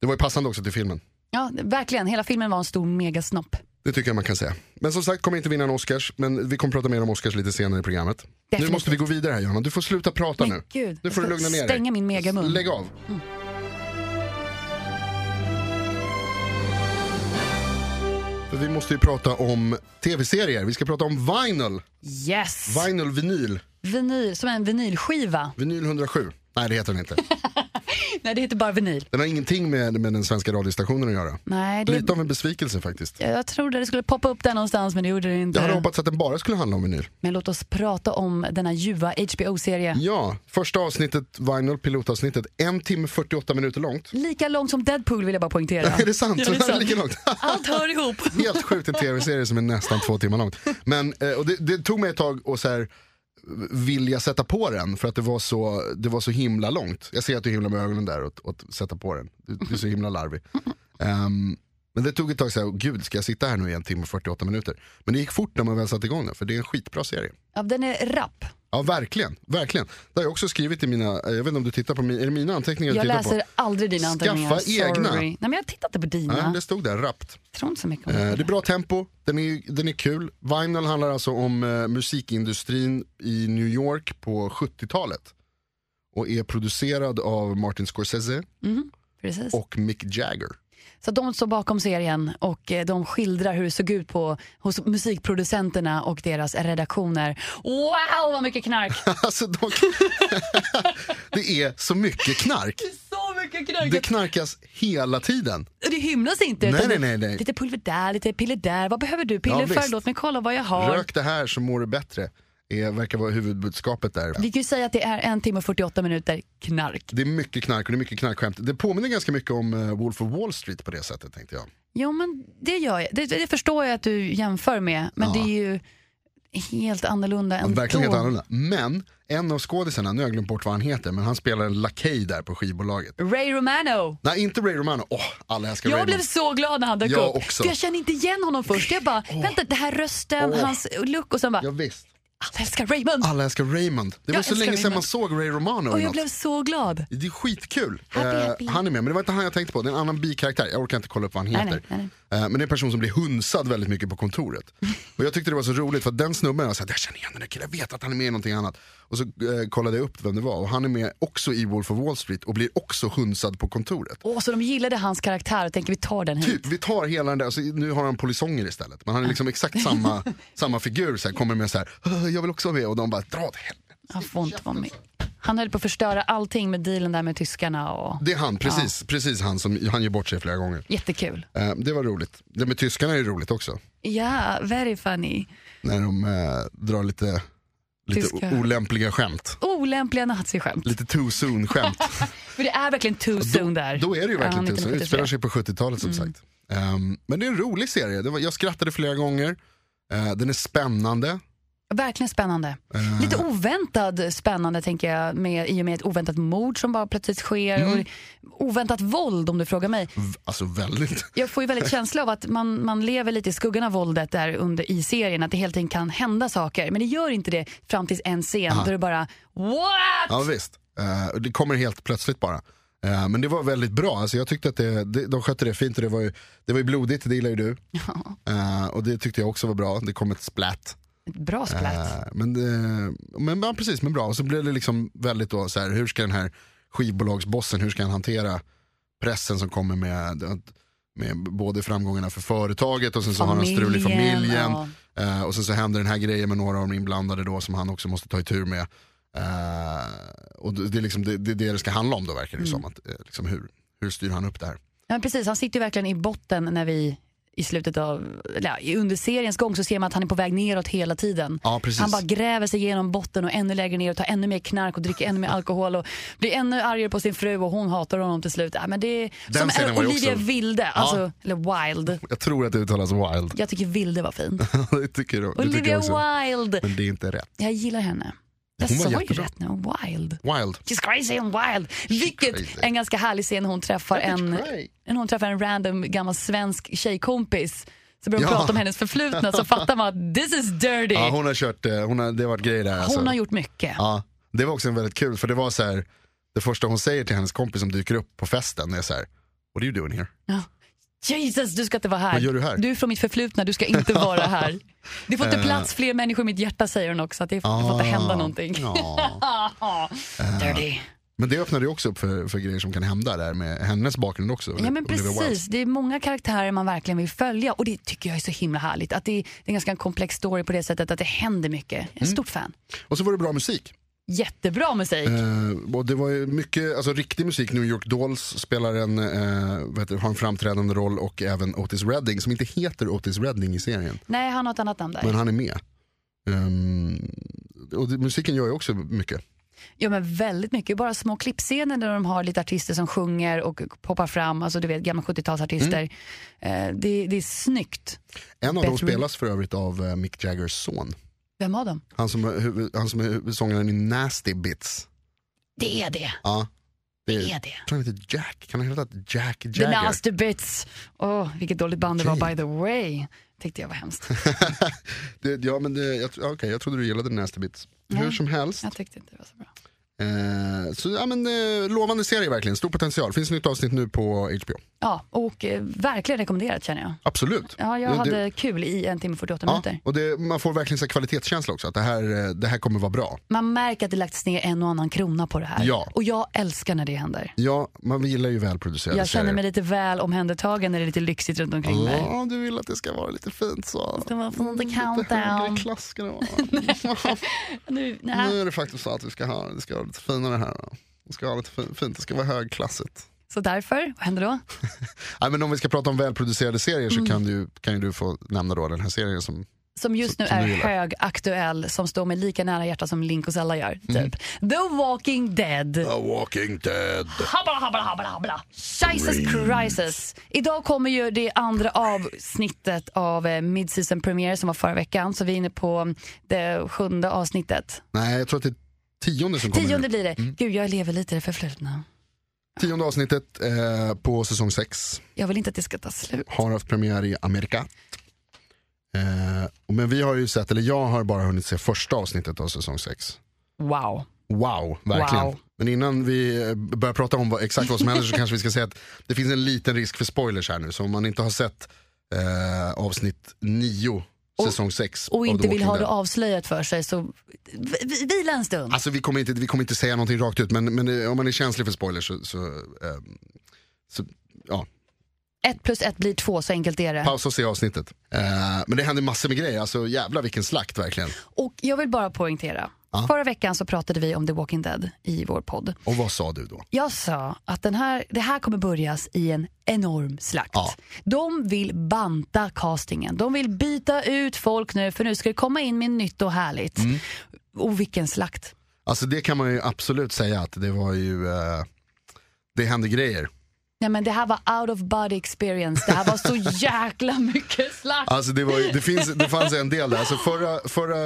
[SPEAKER 1] det var ju passande också till filmen.
[SPEAKER 2] Ja, verkligen. Hela filmen var en stor megasnopp.
[SPEAKER 1] Det tycker jag man kan säga. Men som sagt kommer inte vinna en Oscars. Men vi kommer prata mer om Oscars lite senare i programmet. Nu
[SPEAKER 2] Definitivt.
[SPEAKER 1] måste vi gå vidare här Johanna. Du får sluta prata
[SPEAKER 2] Men
[SPEAKER 1] nu.
[SPEAKER 2] gud,
[SPEAKER 1] nu får du
[SPEAKER 2] jag ska
[SPEAKER 1] lugna ner dig.
[SPEAKER 2] stänga min megamun. Mm.
[SPEAKER 1] Lägg av. För Vi måste ju prata om tv-serier. Vi ska prata om vinyl.
[SPEAKER 2] Yes!
[SPEAKER 1] Vinyl, vinyl.
[SPEAKER 2] Vinyl, som en vinylskiva.
[SPEAKER 1] Vinyl 107. Nej, det heter den inte.
[SPEAKER 2] Nej, det heter bara vinyl.
[SPEAKER 1] Den har ingenting med, med den svenska radiostationen att göra.
[SPEAKER 2] Nej, det,
[SPEAKER 1] Lite av en besvikelse faktiskt.
[SPEAKER 2] jag trodde det skulle poppa upp där någonstans, men det gjorde det inte.
[SPEAKER 1] Jag hade hoppats att den bara skulle handla om vinyl.
[SPEAKER 2] Men låt oss prata om denna ljuva HBO-serie.
[SPEAKER 1] Ja, första avsnittet, vinyl, pilotavsnittet, en timme 48 minuter långt.
[SPEAKER 2] Lika långt som Deadpool vill jag bara poängtera.
[SPEAKER 1] Är det sant?
[SPEAKER 2] Ja,
[SPEAKER 1] Så
[SPEAKER 2] det är
[SPEAKER 1] den är
[SPEAKER 2] sant.
[SPEAKER 1] lika långt.
[SPEAKER 2] Allt hör ihop.
[SPEAKER 1] Helt sjukt, en tv-serie som är nästan två timmar lång. Men, eh, och det, det tog mig ett tag att så här, vilja sätta på den för att det var, så, det var så himla långt. Jag ser att du himlar med ögonen där åt, åt sätta på den. Du, du är så himla larvig. Ehm, men det tog ett tag så här, "Åh, gud ska jag sitta här nu i en timme och 48 minuter? Men det gick fort när man väl satte igång den för det är en skitbra serie.
[SPEAKER 2] Ja, den är rapp.
[SPEAKER 1] Ja verkligen, verkligen. Det har jag också skrivit i mina, eh, jag vet inte om du tittar på min, är det mina anteckningar du
[SPEAKER 2] Jag
[SPEAKER 1] tittar
[SPEAKER 2] läser
[SPEAKER 1] på?
[SPEAKER 2] aldrig dina
[SPEAKER 1] Skaffa
[SPEAKER 2] anteckningar.
[SPEAKER 1] egna.
[SPEAKER 2] Sorry. Nej, men jag tittar inte på dina.
[SPEAKER 1] Nej, det
[SPEAKER 2] Jag
[SPEAKER 1] stod där rappt.
[SPEAKER 2] tror inte så mycket om
[SPEAKER 1] Eh, Det
[SPEAKER 2] det.
[SPEAKER 1] är bra tempo, den är, den är kul. Vinyl handlar alltså om eh, musikindustrin i New York på 70-talet. Och är producerad av Martin Scorsese
[SPEAKER 2] Precis.
[SPEAKER 1] och Mick Jagger.
[SPEAKER 2] Så de står bakom serien och eh, de skildrar hur det såg ut på, hos musikproducenterna och deras redaktioner. Wow, vad mycket knark!
[SPEAKER 1] Alltså, de, det är så mycket knark.
[SPEAKER 2] så mycket knark!
[SPEAKER 1] Det knarkas hela tiden.
[SPEAKER 2] Det, hymlas inte.
[SPEAKER 1] Nej,
[SPEAKER 2] utan
[SPEAKER 1] nej, nej, nej.
[SPEAKER 2] Lite pulver där, lite piller där. Vad behöver du piller
[SPEAKER 1] Ja,
[SPEAKER 2] för?
[SPEAKER 1] visst.
[SPEAKER 2] Låt mig kolla vad jag har.
[SPEAKER 1] Rök det här så mår du bättre, är, verkar vara huvudbudskapet där.
[SPEAKER 2] Vi kan ju säga att det är en timme och 48 minuter knark.
[SPEAKER 1] Det är mycket knark och det är mycket knarkskämt. Det påminner ganska mycket om eh, Wolf of Wall Street på det sättet tänkte jag.
[SPEAKER 2] Jo, men det gör jag. Det, det förstår jag att du jämför med. Men det är ju helt annorlunda än
[SPEAKER 1] Verkligen
[SPEAKER 2] då.
[SPEAKER 1] helt annorlunda. Men en av skådisarna, nu har jag glömt bort vad han heter, men han spelar en lakej där på skivbolaget.
[SPEAKER 2] Ray Romano.
[SPEAKER 1] Nej, inte Ray Romano. Åh, alla älskar Ray
[SPEAKER 2] Jag blev
[SPEAKER 1] Romano.
[SPEAKER 2] så glad när han dök
[SPEAKER 1] Jag
[SPEAKER 2] upp.
[SPEAKER 1] också.
[SPEAKER 2] För Jag kände inte igen honom först. Jag bara, vänta, det här rösten,
[SPEAKER 1] Åh.
[SPEAKER 2] hans look och sen bara,
[SPEAKER 1] Ja, visst.
[SPEAKER 2] alla älskar Raymond.
[SPEAKER 1] Alla älskar Raymond. Det var
[SPEAKER 2] Jag
[SPEAKER 1] så
[SPEAKER 2] älskar
[SPEAKER 1] länge sedan man
[SPEAKER 2] Raymond.
[SPEAKER 1] såg Ray Romano.
[SPEAKER 2] Och
[SPEAKER 1] i
[SPEAKER 2] jag
[SPEAKER 1] något.
[SPEAKER 2] blev så glad.
[SPEAKER 1] Det är skitkul.
[SPEAKER 2] Happy,
[SPEAKER 1] Eh,
[SPEAKER 2] happy.
[SPEAKER 1] Han är med, men det var inte han jag tänkte på. Det är en annan bikaraktär. Jag orkar inte kolla upp vad han
[SPEAKER 2] Nej,
[SPEAKER 1] heter.
[SPEAKER 2] nej, nej,
[SPEAKER 1] Eh, Men det är en person som blir hunsad väldigt mycket på kontoret. Och jag tyckte det var så roligt för att den snubben, jag, sa, jag känner igen den där killen, jag vet att han är med i någonting annat. Och så eh, kollade jag upp vem det var och han är med också i Wolf of Wall Street och blir också hunsad på kontoret.
[SPEAKER 2] Åh, så de gillade hans karaktär och tänkte vi tar den hit.
[SPEAKER 1] Typ, vi tar hela den där, alltså, nu har han polisonger istället. Men han är liksom exakt samma, samma figur, så här, kommer med så här, "Åh, jag vill också vara med och de bara dra åt helvete.
[SPEAKER 2] Han får inte vara med. Han höll på att förstöra allting med dealen där med tyskarna och
[SPEAKER 1] Det är han, precis, precis han som, han gör bort sig flera gånger.
[SPEAKER 2] jättekul.
[SPEAKER 1] Eh, Det var roligt. Det med tyskarna är roligt också.
[SPEAKER 2] Ja, very funny.
[SPEAKER 1] När de eh, drar lite, lite
[SPEAKER 2] Tyska.
[SPEAKER 1] o- olämpliga skämt.
[SPEAKER 2] Olämpliga naziskämt.
[SPEAKER 1] Lite too soon-skämt.
[SPEAKER 2] För det är verkligen too soon där.
[SPEAKER 1] Då är det ju verkligen
[SPEAKER 2] Ja, Mm.
[SPEAKER 1] too soon.
[SPEAKER 2] 1973.
[SPEAKER 1] Det utspelar sig på 70-talet som sagt. Ehm, men det är en rolig serie. Det var, jag skrattade flera gånger. Eh, den är spännande.
[SPEAKER 2] Verkligen spännande.
[SPEAKER 1] Eh.
[SPEAKER 2] Lite oväntad spännande tänker jag med, i och med ett oväntat mord som bara plötsligt sker.
[SPEAKER 1] Mm.
[SPEAKER 2] Och oväntat våld om du frågar mig.
[SPEAKER 1] V- Alltså väldigt.
[SPEAKER 2] Jag får ju väldigt känsla av att man, man lever lite i skuggan av våldet där under, i serien. Att det helt enkelt kan hända saker. Men det gör inte det fram tills en scen där du bara what?
[SPEAKER 1] Ja visst. Eh, och det kommer helt plötsligt bara. Eh, men det var väldigt bra. Alltså, jag tyckte att det, det, de skötte det fint. Och det, var ju, det var ju blodigt, det gillar ju du. Eh, och det tyckte jag också var bra. Det kom ett splatt.
[SPEAKER 2] Ett bra splatt.
[SPEAKER 1] Eh, Men, det, men ja, precis, men bra. Och så blev det liksom väldigt då så här, hur ska den här skivbolagsbossen, hur ska han hantera pressen som kommer med, med både framgångarna för företaget och sen så har han strul i
[SPEAKER 2] Familjen,
[SPEAKER 1] familjen.
[SPEAKER 2] ja.
[SPEAKER 1] Eh, och sen så händer den här grejen med några av de inblandade då som han också måste ta itu med. Eh, och det det är liksom det, det, är det det ska handla om då verkar det
[SPEAKER 2] Mm.
[SPEAKER 1] som. Att, eh, liksom hur, hur styr han upp det här?
[SPEAKER 2] Ja, men precis, han sitter ju verkligen i botten när vi i slutet av, eller ja, i- under seriens gång så ser man att han är på väg neråt hela tiden.
[SPEAKER 1] Ja, precis.
[SPEAKER 2] Han bara gräver sig igenom botten och ännu lägre ner och tar ännu mer knark och dricker ännu mer alkohol och blir ännu argare på sin fru och hon hatar honom till slut. Ja, men det är,
[SPEAKER 1] Den
[SPEAKER 2] som
[SPEAKER 1] scenen var ju
[SPEAKER 2] Olivia
[SPEAKER 1] också-
[SPEAKER 2] Wilde, alltså, eller Wilde.
[SPEAKER 1] Jag tror att det uttalas wild.
[SPEAKER 2] Jag tycker Wilde var fin.
[SPEAKER 1] det tycker, jag- det tycker
[SPEAKER 2] Olivia
[SPEAKER 1] jag också.
[SPEAKER 2] Wilde.
[SPEAKER 1] Men det är inte rätt.
[SPEAKER 2] Jag gillar henne. Jag
[SPEAKER 1] Hon var
[SPEAKER 2] sa ju
[SPEAKER 1] jättebra.
[SPEAKER 2] rätt nu, Wilde.
[SPEAKER 1] Wild.
[SPEAKER 2] She's crazy and wild. Vilket
[SPEAKER 1] crazy.
[SPEAKER 2] är en ganska härlig scen när hon träffar en,
[SPEAKER 1] cray.
[SPEAKER 2] när hon träffar en random gammal svensk tjejkompis. Så börjar hon
[SPEAKER 1] Ja.
[SPEAKER 2] prata om hennes förflutna så fattar man att this is dirty.
[SPEAKER 1] Ja,
[SPEAKER 2] hon,
[SPEAKER 1] hon har kört, eh, hon har, det har varit grejer där. Alltså.
[SPEAKER 2] har gjort mycket.
[SPEAKER 1] ja, det var också en väldigt kul, för det var så här, det första hon säger till hennes kompis som dyker upp på festen är så här, what are you doing here?
[SPEAKER 2] Jesus, du ska inte vara här.
[SPEAKER 1] Vad gör du här? Eh.
[SPEAKER 2] Du är från mitt förflutna, du ska inte vara här. Det får inte plats fler människor i mitt hjärta säger hon också. Att det får det får inte
[SPEAKER 1] Ah.
[SPEAKER 2] hända någonting.
[SPEAKER 1] Ja. Eh.
[SPEAKER 2] Dirty.
[SPEAKER 1] Men det öppnade ju också upp för, för grejer som kan hända där med hennes bakgrund också.
[SPEAKER 2] Ja men
[SPEAKER 1] Olivia Wilde.
[SPEAKER 2] precis, det är många karaktärer man verkligen vill följa och det tycker jag är så himla härligt. Att det är, det är en ganska komplex story på det sättet att det händer mycket. Jag är
[SPEAKER 1] Mm.
[SPEAKER 2] ett stort fan.
[SPEAKER 1] Och så var det bra musik.
[SPEAKER 2] Jättebra musik.
[SPEAKER 1] Eh, och det var ju mycket, alltså riktig musik. New York Dolls spelar en, eh, vad heter, det, har en framträdande roll och även Otis Redding, som inte heter Otis Redding i serien.
[SPEAKER 2] Nej, han har ett annat namn där.
[SPEAKER 1] Men han är med. Ehm, och det, musiken gör ju också mycket.
[SPEAKER 2] Ja, men väldigt mycket. Bara små klippscener där de har lite artister som sjunger och poppar fram. Alltså du vet, gamla 70-talsartister.
[SPEAKER 1] Mm.
[SPEAKER 2] Eh, det, det är snyggt.
[SPEAKER 1] En av dem
[SPEAKER 2] Bedroom.
[SPEAKER 1] spelas för övrigt av eh, Mick Jaggers son.
[SPEAKER 2] Vem av dem?
[SPEAKER 1] Han som, är huvud, han som är huvudsångaren i Nasty Bits.
[SPEAKER 2] Det är det.
[SPEAKER 1] Ja, det är,
[SPEAKER 2] Det är det.
[SPEAKER 1] Jag tror han heter Jack. Kan han heta Jack
[SPEAKER 2] The
[SPEAKER 1] Jagger?
[SPEAKER 2] Nasty Bits. Åh, vilket dåligt band det var by the way. Tyckte jag var hemskt.
[SPEAKER 1] det, ja, men det, jag, tro- ja, okej, jag trodde du gillade Nasty Bits. Hur som helst.
[SPEAKER 2] Jag tyckte inte det var så bra.
[SPEAKER 1] Eh, så, ja, men, eh, lovande serie verkligen. Stor potential. Finns nytt avsnitt nu på HBO.
[SPEAKER 2] Ja, och eh, verkligen rekommenderat känner jag.
[SPEAKER 1] Absolut.
[SPEAKER 2] Ja, jag
[SPEAKER 1] Det-
[SPEAKER 2] hade
[SPEAKER 1] det,
[SPEAKER 2] kul i en timme och 48
[SPEAKER 1] ja,
[SPEAKER 2] minuter.
[SPEAKER 1] och det, Man får verkligen så här kvalitetskänsla också. Att det här, eh, det här kommer vara bra.
[SPEAKER 2] Man märker att det lagts ner en och annan krona på det här.
[SPEAKER 1] Ja.
[SPEAKER 2] Och jag älskar när det händer.
[SPEAKER 1] Ja, man gillar ju välproducerade
[SPEAKER 2] Jag känner
[SPEAKER 1] serier.
[SPEAKER 2] mig lite väl omhändertagen när det är lite lyxigt runt omkring mig.
[SPEAKER 1] Ja, du vill att det ska vara lite fint så.
[SPEAKER 2] ska vara från The
[SPEAKER 1] Lite högre
[SPEAKER 2] Countdown.
[SPEAKER 1] klass ska det vara.
[SPEAKER 2] Nu,
[SPEAKER 1] Nu är det faktiskt så att vi ska ha, det ska vara lite finare här. va? Det ska vara lite fi- fint, det ska vara högklassigt.
[SPEAKER 2] Så därför, vad händer då?
[SPEAKER 1] Nej, men om vi ska prata om välproducerade serier så kan du, kan ju du få nämna då den här serien som
[SPEAKER 2] som just nu
[SPEAKER 1] som
[SPEAKER 2] är
[SPEAKER 1] du gillar.
[SPEAKER 2] högaktuell, som står mig lika nära hjärtat som Link och Zelda gör. Typ.
[SPEAKER 1] Mm.
[SPEAKER 2] The Walking Dead.
[SPEAKER 1] A walking dead.
[SPEAKER 2] Habla, habla, habla, habla. Jesus Christ. Idag kommer ju det andra avsnittet av eh, Midseason Premiere som var förra veckan. Så vi är inne på mm, det sjunde avsnittet.
[SPEAKER 1] Nej, jag tror att det är tionde som kommer nu. Mm.
[SPEAKER 2] Tionde blir det. Gud, jag lever lite i det förflutna.
[SPEAKER 1] Tionde avsnittet eh, på säsong 6
[SPEAKER 2] Jag vill inte att det ska ta slut.
[SPEAKER 1] har haft premiär i Amerika. Eh, men vi har ju sett, eller jag har bara hunnit se första avsnittet av säsong 6.
[SPEAKER 2] Wow.
[SPEAKER 1] Wow, verkligen.
[SPEAKER 2] Wow.
[SPEAKER 1] Men innan vi eh, börjar prata om vad, exakt vad som händer så kanske vi ska säga att det finns en liten risk för spoilers här nu. Så om man inte har sett eh, avsnitt 9, säsong 6
[SPEAKER 2] Och inte vill ha det avslöjat för sig, så v- v- vila en stund.
[SPEAKER 1] Alltså vi kommer inte, vi kommer inte säga någonting rakt ut men, men eh, om man är känslig för spoilers så, så, eh, så ja,
[SPEAKER 2] Ett plus ett blir två, så enkelt är det.
[SPEAKER 1] pausa och se avsnittet. Eh, men det händer massor med grejer, alltså jävla vilken slakt verkligen.
[SPEAKER 2] Och jag vill bara poängtera. Förra veckan så pratade vi om The Walking Dead i vår podd.
[SPEAKER 1] Och vad sa du då?
[SPEAKER 2] Jag sa att den här, det här kommer börjas i en enorm slakt.
[SPEAKER 1] Ja.
[SPEAKER 2] De vill banta castingen. De vill byta ut folk nu för nu ska det komma in med nytt och härligt.
[SPEAKER 1] Mm.
[SPEAKER 2] Och vilken slakt.
[SPEAKER 1] Alltså det kan man ju absolut säga att det var ju, eh, det hände grejer.
[SPEAKER 2] Nej, men det här var out of body experience. Det här var så jäkla mycket slakt.
[SPEAKER 1] Alltså det, var, ju- det, finns, det fanns en del där. Alltså förra förra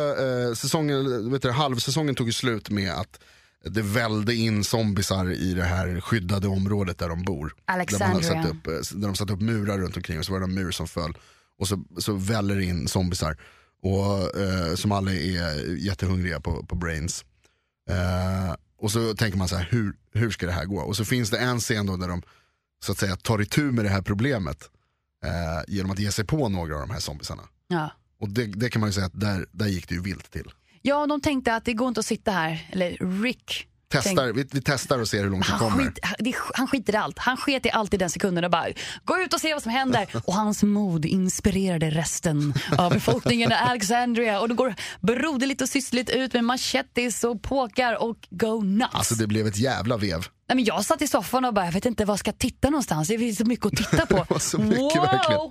[SPEAKER 1] eh, säsongen, eller vet du, halvsäsongen tog ju slut med att det välde in zombisar i det här skyddade området där de bor. Där, man
[SPEAKER 2] Alexandria.
[SPEAKER 1] hade satt upp, eh, där de satte upp murar runt omkring och så var det en mur som föll. Och så, så väller det in zombisar. Och, eh, som alla är jättehungriga på, på brains. Eh, och så tänker man så här, hur, hur ska det här gå? Och så finns det en scen då där de så att säga tar itu med det här problemet eh, genom att ge sig på några av de här zombisarna.
[SPEAKER 2] Ja.
[SPEAKER 1] Och det, det kan man ju säga att där, där gick det ju vilt till.
[SPEAKER 2] ja, de tänkte att det går inte att sitta här. Eller Rick. tänkte-
[SPEAKER 1] Testar, vi, vi testar och ser hur långt vi
[SPEAKER 2] Han,
[SPEAKER 1] kommer.
[SPEAKER 2] Ah, skit, han- det, han skiter i allt. Han sket i allt i den sekunden och bara gå ut och se vad som händer. Och hans mod inspirerade resten av befolkningen i Alexandria. Och då går broderligt och systerligt ut med machetis och påkar och go nuts.
[SPEAKER 1] Alltså det blev ett jävla vev.
[SPEAKER 2] Nej, men jag satt i soffan och bara, jag vet inte var jag ska titta någonstans. Det finns så mycket att titta på.
[SPEAKER 1] var så mycket, verkligen.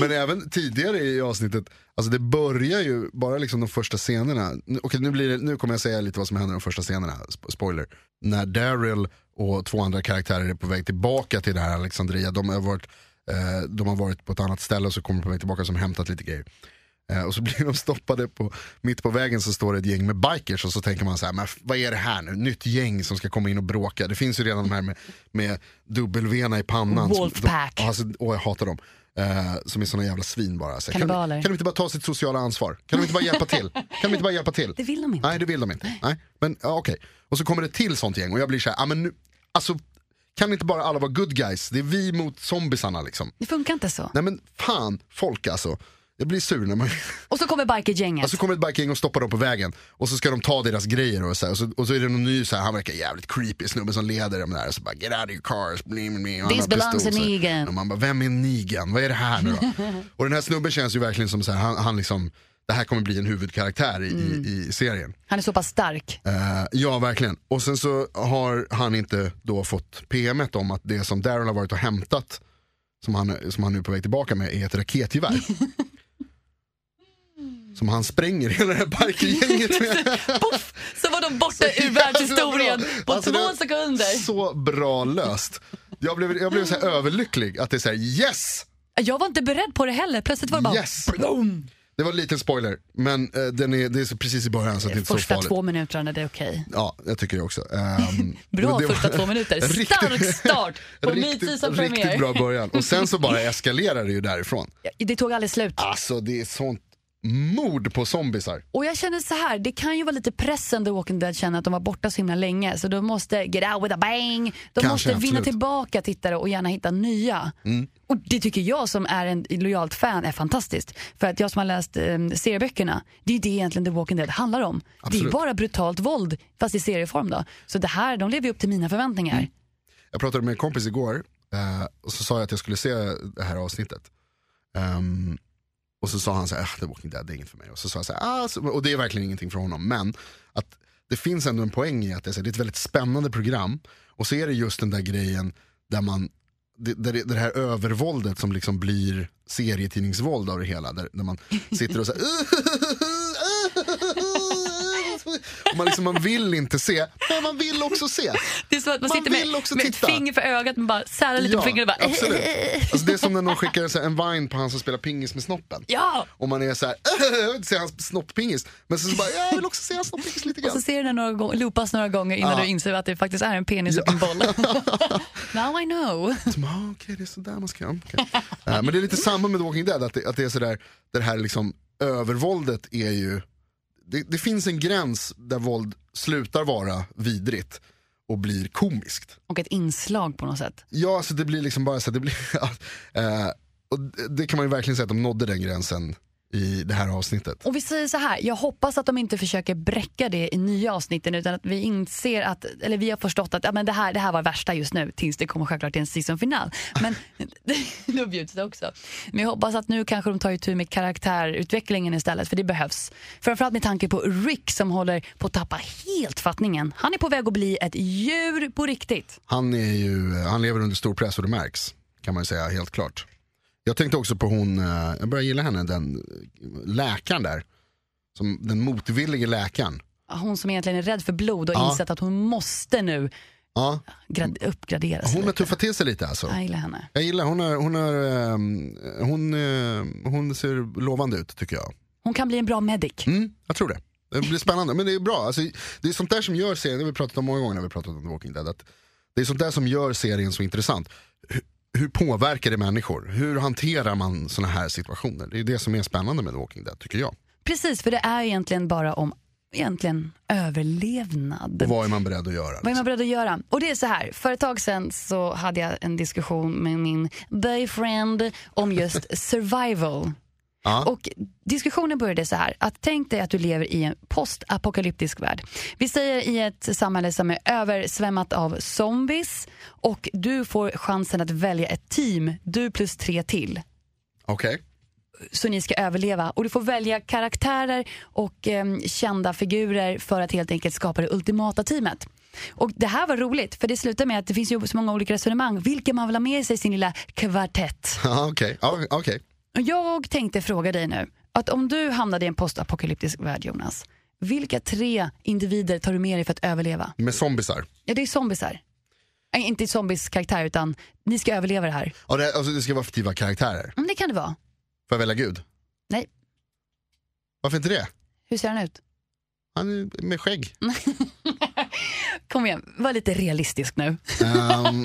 [SPEAKER 1] Men även tidigare i avsnittet, alltså det börjar ju bara liksom de första scenerna. Nu- Okej nu, blir det, nu kommer jag säga lite vad som händer i de första scenerna, Sp- spoiler. När Daryl och två andra karaktärer är på väg tillbaka till det här Alexandria, de har varit, eh, de har varit på ett annat ställe och så kommer de på väg tillbaka som hämtat lite grejer. Eh, och så blir de stoppade på, mitt på vägen så står det ett gäng med bikers och så tänker man så här, men f- vad är det här nu? Nytt gäng som ska komma in och bråka. Det finns ju redan de här med, med W i pannan. som-
[SPEAKER 2] Wolfpack.
[SPEAKER 1] De, alltså, åh, jag hatar dem. Eh, som är såna jävla svin bara. Så här, kan, de-
[SPEAKER 2] Kannibaler.
[SPEAKER 1] kan de inte bara ta sitt sociala ansvar? Kan de inte bara hjälpa till? Kan de inte bara hjälpa till?
[SPEAKER 2] Det vill de inte.
[SPEAKER 1] Nej, det vill de inte. Nej. Men ja, okej. Och så kommer det till sånt gäng och jag blir så här, ah, men nu, alltså kan inte bara alla vara good guys? Det är vi mot zombisarna liksom.
[SPEAKER 2] Det funkar inte så.
[SPEAKER 1] Nej men fan, folk alltså. Jag blir sur när man...
[SPEAKER 2] Och så kommer bikergänget.
[SPEAKER 1] Och så kommer ett bikegäng och stoppar dem på vägen och så ska de ta deras grejer och så, här, och så, och så är det någon ny så här, han verkar jävligt creepy snubben som leder dem där och så bara get out of your cars, blim, blim, och han
[SPEAKER 2] This
[SPEAKER 1] har
[SPEAKER 2] belongs
[SPEAKER 1] pistol,
[SPEAKER 2] to
[SPEAKER 1] så här.
[SPEAKER 2] Negan.
[SPEAKER 1] Och man bara, vem är Negan? Vad är det här nu då? och den här snubben känns ju verkligen som så här, han, han liksom, det här kommer bli en huvudkaraktär i, i, i serien.
[SPEAKER 2] Han är så pass stark.
[SPEAKER 1] Eh, ja, verkligen. Och sen så har han inte då fått PMet om att det som Daryl har varit och hämtat, som han, som han nu är på väg tillbaka med, är ett raketgevär. som han spränger hela det här bikergänget med.
[SPEAKER 2] Så var de borta ur världshistorien på
[SPEAKER 1] Alltså,
[SPEAKER 2] två
[SPEAKER 1] det-
[SPEAKER 2] sekunder.
[SPEAKER 1] Så bra löst. Jag blev, jag blev så här överlycklig att det är så här yes!
[SPEAKER 2] Jag var inte beredd på det heller. Plötsligt var det bara
[SPEAKER 1] Yes! Det var en liten spoiler, men eh, den är, det är så precis i början så att det är inte så
[SPEAKER 2] Första
[SPEAKER 1] farligt.
[SPEAKER 2] två minuterna, det är okej.
[SPEAKER 1] Ja, jag tycker det också. Ehm,
[SPEAKER 2] Bra
[SPEAKER 1] men det var-
[SPEAKER 2] första två minuter.
[SPEAKER 1] Riktigt-
[SPEAKER 2] Stark start på
[SPEAKER 1] riktigt,
[SPEAKER 2] Midseason
[SPEAKER 1] riktigt
[SPEAKER 2] premiär.
[SPEAKER 1] bra början. Och sen så bara eskalerar det ju därifrån.
[SPEAKER 2] Det tog aldrig slut.
[SPEAKER 1] Alltså det är sånt mord på zombisar.
[SPEAKER 2] Och jag känner så här, det kan ju vara lite pressen The Walking Dead känner att de var borta så himla länge. Så de måste get out with a bang. De
[SPEAKER 1] Kanske,
[SPEAKER 2] måste vinna
[SPEAKER 1] absolut. Mm.
[SPEAKER 2] tillbaka tittare och gärna hitta nya. Och det tycker jag som är en lojalt fan är fantastiskt. För att jag som har läst eh, serieböckerna, det är det egentligen The Walking Dead handlar om. Det är
[SPEAKER 1] Absolut.
[SPEAKER 2] bara brutalt våld, fast i serieform då. Så det här, de lever ju upp till mina förväntningar.
[SPEAKER 1] Jag pratade med en kompis igår eh, och så sa jag att jag skulle se det här avsnittet. Ehm, och så sa han så här, ah, The Walking Dead det är inget för mig. Och så sa jag så här, ah, så, och det är verkligen ingenting för honom. Men att det finns ändå en poäng i att det är, så här, det är ett väldigt spännande program. Och så är det just den där grejen där man det, där det, det här övervåldet som liksom blir serietidningsvåld av det hela. Där, där man sitter och så här, "Ah, och man, liksom, man vill inte se, men man vill också se.
[SPEAKER 2] Det är så att man,
[SPEAKER 1] Man
[SPEAKER 2] sitter med,
[SPEAKER 1] vill också
[SPEAKER 2] med ett
[SPEAKER 1] titta.
[SPEAKER 2] finger för ögat, man bara särar lite på fingret och bara...
[SPEAKER 1] absolut. Alltså, det är som när någon skickar så här, en vine på han som spelar pingis med snoppen.
[SPEAKER 2] Ja!
[SPEAKER 1] Och man är så här, jag vill inte se hans snopppingis. Men sen så bara, jag vill också se hans snopppingis lite
[SPEAKER 2] Så
[SPEAKER 1] grann.
[SPEAKER 2] ser du den några gånger, loopas några gånger innan du inser att det faktiskt är en penis och en boll. Now I know.
[SPEAKER 1] Som, ah, okej, det är sådär man ska göra. Okej. Eh, men det är lite samma med The Walking Dead, att det, att det är sådär, det här liksom övervåldet är ju, det, det finns en gräns där våld slutar vara vidrigt och blir komiskt.
[SPEAKER 2] Och ett inslag på något sätt.
[SPEAKER 1] Ja, alltså det blir liksom bara så, här, det blir, eh, och det- det kan man ju verkligen säga att de nådde den gränsen i det här avsnittet.
[SPEAKER 2] Och vi säger så här, jag hoppas att de inte försöker bräcka det i nya avsnitten utan att vi inser att, eller vi har förstått att ja, men det, här, det här var värsta just nu tills det kommer självklart till en säsongfinal. Men då bjuds det också. Men jag hoppas att nu kanske de tar itu med karaktärutvecklingen istället för det behövs. Framförallt med tanke på Rick som håller på att tappa helt fattningen. Han är på väg att bli ett djur på riktigt.
[SPEAKER 1] Han, är ju, han lever under stor press och det märks, kan man ju säga helt klart. Jag tänkte också på hon, eh, jag börjar gilla henne, den eh, läkaren där. Som den motvillige läkaren.
[SPEAKER 2] Hon som egentligen är rädd för blod och
[SPEAKER 1] Ja.
[SPEAKER 2] insett att hon måste nu
[SPEAKER 1] Ja,
[SPEAKER 2] grad- uppgradera sig.
[SPEAKER 1] hon har
[SPEAKER 2] lite.
[SPEAKER 1] tuffat till sig lite alltså.
[SPEAKER 2] Jag gillar henne.
[SPEAKER 1] Jag gillar, hon, är, hon, är, ehm, hon, eh, hon ser lovande ut tycker jag.
[SPEAKER 2] Hon kan bli en bra medic.
[SPEAKER 1] Mm, jag tror det. Det blir spännande, men det är bra. Alltså, det är sånt där som gör serien, det har vi pratat om många gånger när vi har pratat om The Walking Dead. Att det är sånt där som gör serien så intressant. Hur, hur påverkar det människor? Hur hanterar man såna här situationer? Det är det som är spännande med The Walking Dead tycker jag.
[SPEAKER 2] Precis, för det är egentligen bara om egentligen överlevnad.
[SPEAKER 1] Och vad är man beredd att göra?
[SPEAKER 2] Vad är
[SPEAKER 1] liksom?
[SPEAKER 2] man beredd att göra? Och det är så här, för ett tag sedan så hade jag en diskussion med min boyfriend om just survival.
[SPEAKER 1] Ja.
[SPEAKER 2] Och diskussionen började så här, att tänk dig att du lever i en postapokalyptisk värld. Vi säger i ett samhälle som är översvämmat av zombies och du får chansen att välja ett team, du plus tre till
[SPEAKER 1] Okej,
[SPEAKER 2] så ni ska överleva. Och du får välja karaktärer och em, kända figurer för att helt enkelt skapa det ultimata teamet. Och det här var roligt, för det slutar med att det finns ju så många olika resonemang. Vilka man vill ha med sig i sin lilla kvartett.
[SPEAKER 1] ja, okej. Ja, okej.
[SPEAKER 2] Och Jag tänkte fråga dig nu, att om du hamnade i en postapokalyptisk värld Jonas, vilka tre individer tar du med dig för att överleva?
[SPEAKER 1] Med zombisar.
[SPEAKER 2] Ja, det är zombisar. Nej, inte zombies karaktär utan ni ska överleva det här.
[SPEAKER 1] Ja, det, alltså, det ska vara fiktiva karaktärer.
[SPEAKER 2] Men det kan det vara.
[SPEAKER 1] Får jag välja Gud?
[SPEAKER 2] Nej,
[SPEAKER 1] Varför inte det?
[SPEAKER 2] hur ser han ut?
[SPEAKER 1] Han är med skägg.
[SPEAKER 2] Kom igen, var lite realistisk nu.
[SPEAKER 1] Ehm,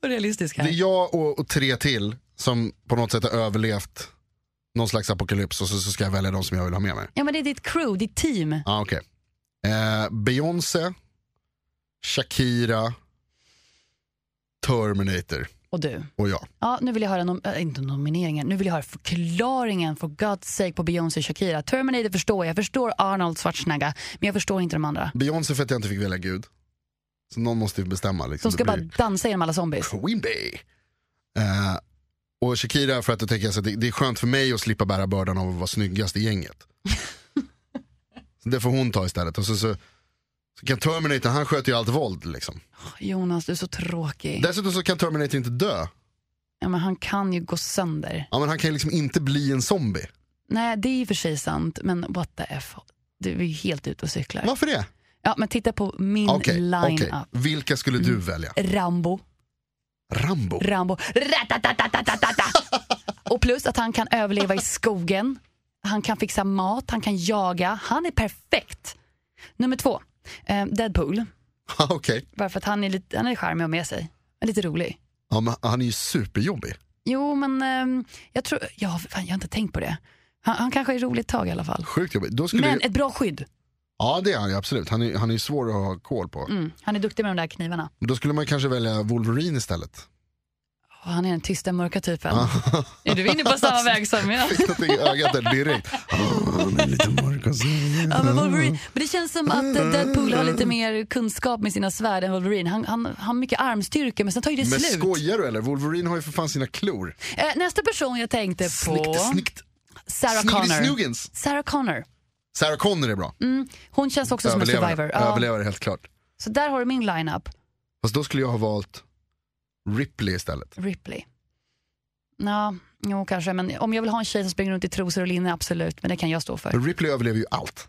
[SPEAKER 2] Var realistisk
[SPEAKER 1] Det är
[SPEAKER 2] här.
[SPEAKER 1] jag och, och tre till som på något sätt har överlevt någon slags apokalyps och så, så ska jag välja de som jag vill ha med mig.
[SPEAKER 2] Ja men det är ditt crew, ditt team.
[SPEAKER 1] Ah, okay. eh, Beyoncé, Shakira, Terminator
[SPEAKER 2] Och du.
[SPEAKER 1] och jag.
[SPEAKER 2] Ja, nu vill jag höra, nom- äh, inte nomineringen, nu vill jag höra förklaringen för God's sake på Beyoncé och Shakira. Terminator förstår jag, jag förstår Arnold Schwarzenegger, men jag förstår inte de andra.
[SPEAKER 1] Beyoncé för att jag inte fick välja Gud. Så någon måste ju bestämma. Liksom.
[SPEAKER 2] Som ska
[SPEAKER 1] Det
[SPEAKER 2] bara
[SPEAKER 1] blir
[SPEAKER 2] dansa genom alla zombies.
[SPEAKER 1] Queen Bey. Eh, och Shakira för att jag tänker att det, det är skönt för mig att slippa bära bördan av att vara snyggast i gänget. så det får hon ta istället. Och så, så, så kan Terminator, han sköter ju allt våld liksom.
[SPEAKER 2] Jonas, du är så tråkig.
[SPEAKER 1] Dessutom så kan Terminator inte dö.
[SPEAKER 2] Ja, men han kan ju gå sönder.
[SPEAKER 1] Ja, men han kan ju liksom inte bli en zombie.
[SPEAKER 2] Nej, det är i och för sig sant, men what the F. Du är ju helt ute och cyklar.
[SPEAKER 1] Varför det? Ah,
[SPEAKER 2] Ja, men titta på min
[SPEAKER 1] Okej, okej.
[SPEAKER 2] line-up.
[SPEAKER 1] Vilka skulle
[SPEAKER 2] Mm.
[SPEAKER 1] du välja?
[SPEAKER 2] Rambo,
[SPEAKER 1] Rambo?
[SPEAKER 2] Rambo. Ratatatatata. och plus att han kan överleva i skogen. Han kan fixa mat, han kan jaga. Han är perfekt. Nummer två, eh, Deadpool.
[SPEAKER 1] Ja, Ah, Okej.
[SPEAKER 2] Bara för att han är, lite, han är charmig och med sig. Han är lite rolig.
[SPEAKER 1] Ja, men han är ju superjobbig.
[SPEAKER 2] Jo, men ehm, jag tror... Ja, fan, jag har inte tänkt på det. Han, han kanske är rolig ett tag i alla fall.
[SPEAKER 1] Sjukt jobbig. Då skulle
[SPEAKER 2] Men
[SPEAKER 1] ju...
[SPEAKER 2] ett bra skydd.
[SPEAKER 1] Ja, det är han ju absolut. Han är, han är ju svår att ha koll på.
[SPEAKER 2] Mm, han är duktig med de där knivarna.
[SPEAKER 1] Då skulle man kanske välja Wolverine istället.
[SPEAKER 2] Och han är den tysta, mörka typen. är du inne på samma väg som jag?
[SPEAKER 1] Någonting i ögat där direkt. Ah, han är lite mörk och så.
[SPEAKER 2] Ja, men,
[SPEAKER 1] Mm.
[SPEAKER 2] Wolverine. men det känns som att eh, Deadpool har lite mer kunskap med sina svärd än Wolverine. Han, han, han har mycket armstyrka, men sen tar ju det
[SPEAKER 1] Men
[SPEAKER 2] slut.
[SPEAKER 1] skojar du eller? Wolverine har ju för fan sina klor.
[SPEAKER 2] Eh, nästa person jag tänkte på,
[SPEAKER 1] Snikt, snikt.
[SPEAKER 2] Sarah
[SPEAKER 1] Sniggy
[SPEAKER 2] Connor.
[SPEAKER 1] snuggins.
[SPEAKER 2] Sarah Connor.
[SPEAKER 1] Sarah Connor är bra.
[SPEAKER 2] Hon känns också som en survivor. Ja.
[SPEAKER 1] Överlevare helt klart.
[SPEAKER 2] Så där har du min lineup.
[SPEAKER 1] Fast då skulle jag ha valt Ripley istället.
[SPEAKER 2] Ripley. Ja, jo kanske. Men om jag vill ha en tjej som springer runt i trosor och linne, absolut. Men det kan jag stå för.
[SPEAKER 1] Ripley överlever ju allt.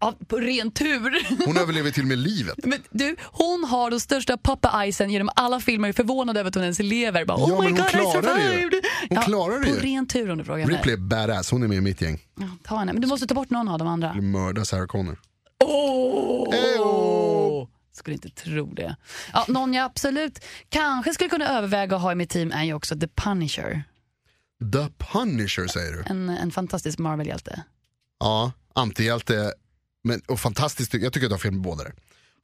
[SPEAKER 2] Ja, på ren tur.
[SPEAKER 1] Hon överlever till och med livet.
[SPEAKER 2] Men du, hon har de största pappa-icen genom alla filmer. Förvånad över att hon ens lever. Bara,
[SPEAKER 1] Ja,
[SPEAKER 2] oh my
[SPEAKER 1] men hon
[SPEAKER 2] god, I
[SPEAKER 1] klarar det ju.
[SPEAKER 2] survived.
[SPEAKER 1] Hon klarar det
[SPEAKER 2] På
[SPEAKER 1] ju.
[SPEAKER 2] ren tur om du frågar mig.
[SPEAKER 1] Ripley är badass, hon är med i mitt gäng.
[SPEAKER 2] Ja, ta henne. Men du måste ta bort någon av de andra.
[SPEAKER 1] Mörda Sarah Connor.
[SPEAKER 2] Åh, Skulle inte tro det. Ja, någon jag absolut kanske skulle kunna överväga att ha i mitt team är ju också The Punisher.
[SPEAKER 1] The Punisher säger du.
[SPEAKER 2] En, en fantastisk Marvel-hjälte.
[SPEAKER 1] Ja, antihjälte. Men, och fantastiskt, jag tycker att du har fel med båda där.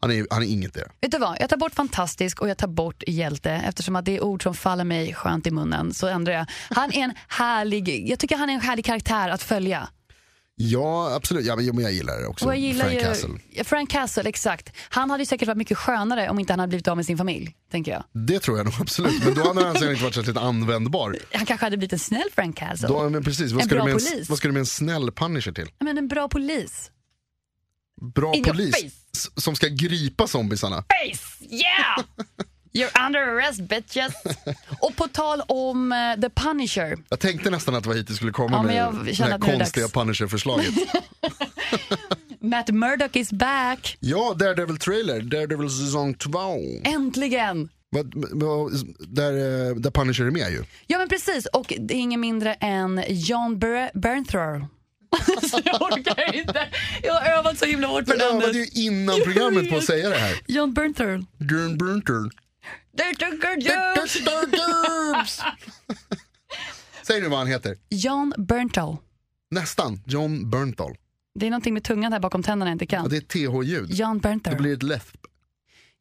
[SPEAKER 1] Han är, han är inget det.
[SPEAKER 2] Vet du vad? Jag tar bort fantastisk och jag tar bort hjälte eftersom att det är ord som faller mig skönt i munnen. Så ändrar jag. Han är en härlig, jag tycker han är en härlig karaktär att följa.
[SPEAKER 1] Ja, absolut. Ja, men, jo, men jag gillar det också.
[SPEAKER 2] Och jag gillar
[SPEAKER 1] Frank
[SPEAKER 2] ju,
[SPEAKER 1] Castle.
[SPEAKER 2] Ja, Frank Castle, exakt. Han hade ju säkert varit mycket skönare om inte han hade blivit av med sin familj, tänker jag.
[SPEAKER 1] Det tror jag nog absolut. Men då hade han sen inte varit särskilt användbar.
[SPEAKER 2] Han kanske hade blivit en snäll Frank Castle.
[SPEAKER 1] Då, men precis, vad
[SPEAKER 2] En
[SPEAKER 1] ska, du
[SPEAKER 2] bra
[SPEAKER 1] med en,
[SPEAKER 2] polis.
[SPEAKER 1] vad ska du med en snäll Punisher till?
[SPEAKER 2] Men en bra polis.
[SPEAKER 1] Bra
[SPEAKER 2] In your
[SPEAKER 1] polis
[SPEAKER 2] face.
[SPEAKER 1] s- som ska gripa zombisarna.
[SPEAKER 2] Face! Yeah! You're under arrest bitches. Och på tal om eh, The Punisher.
[SPEAKER 1] Jag tänkte nästan att det var hit du skulle komma
[SPEAKER 2] Ja, men
[SPEAKER 1] med
[SPEAKER 2] jag
[SPEAKER 1] det
[SPEAKER 2] känner
[SPEAKER 1] här
[SPEAKER 2] att nu är det
[SPEAKER 1] konstiga
[SPEAKER 2] dags.
[SPEAKER 1] Punisher-förslaget.
[SPEAKER 2] Matt Murdock is back.
[SPEAKER 1] ja, Daredevil trailer, Daredevil säsong 2.
[SPEAKER 2] Äntligen!
[SPEAKER 1] Vad- vad- Där, eh, där Punisher är med ju.
[SPEAKER 2] Ja men precis, och det är ingen mindre än John Ber- Bernthal. Alltså, jag orkar inte. Jag har övat så himla hårt på
[SPEAKER 1] Jag
[SPEAKER 2] namnet.
[SPEAKER 1] övade ju innan programmet på att säga det här.
[SPEAKER 2] John Bernthal.
[SPEAKER 1] Dun, dun, dun. Säg nu vad han heter.
[SPEAKER 2] John Bernthal.
[SPEAKER 1] Nästan. John Bernthal.
[SPEAKER 2] Det är någonting med tungan här bakom tänderna jag inte
[SPEAKER 1] Ja,
[SPEAKER 2] kan.
[SPEAKER 1] det är ett TH-ljud.
[SPEAKER 2] John
[SPEAKER 1] Det
[SPEAKER 2] Bernthal.
[SPEAKER 1] blir ett läsp.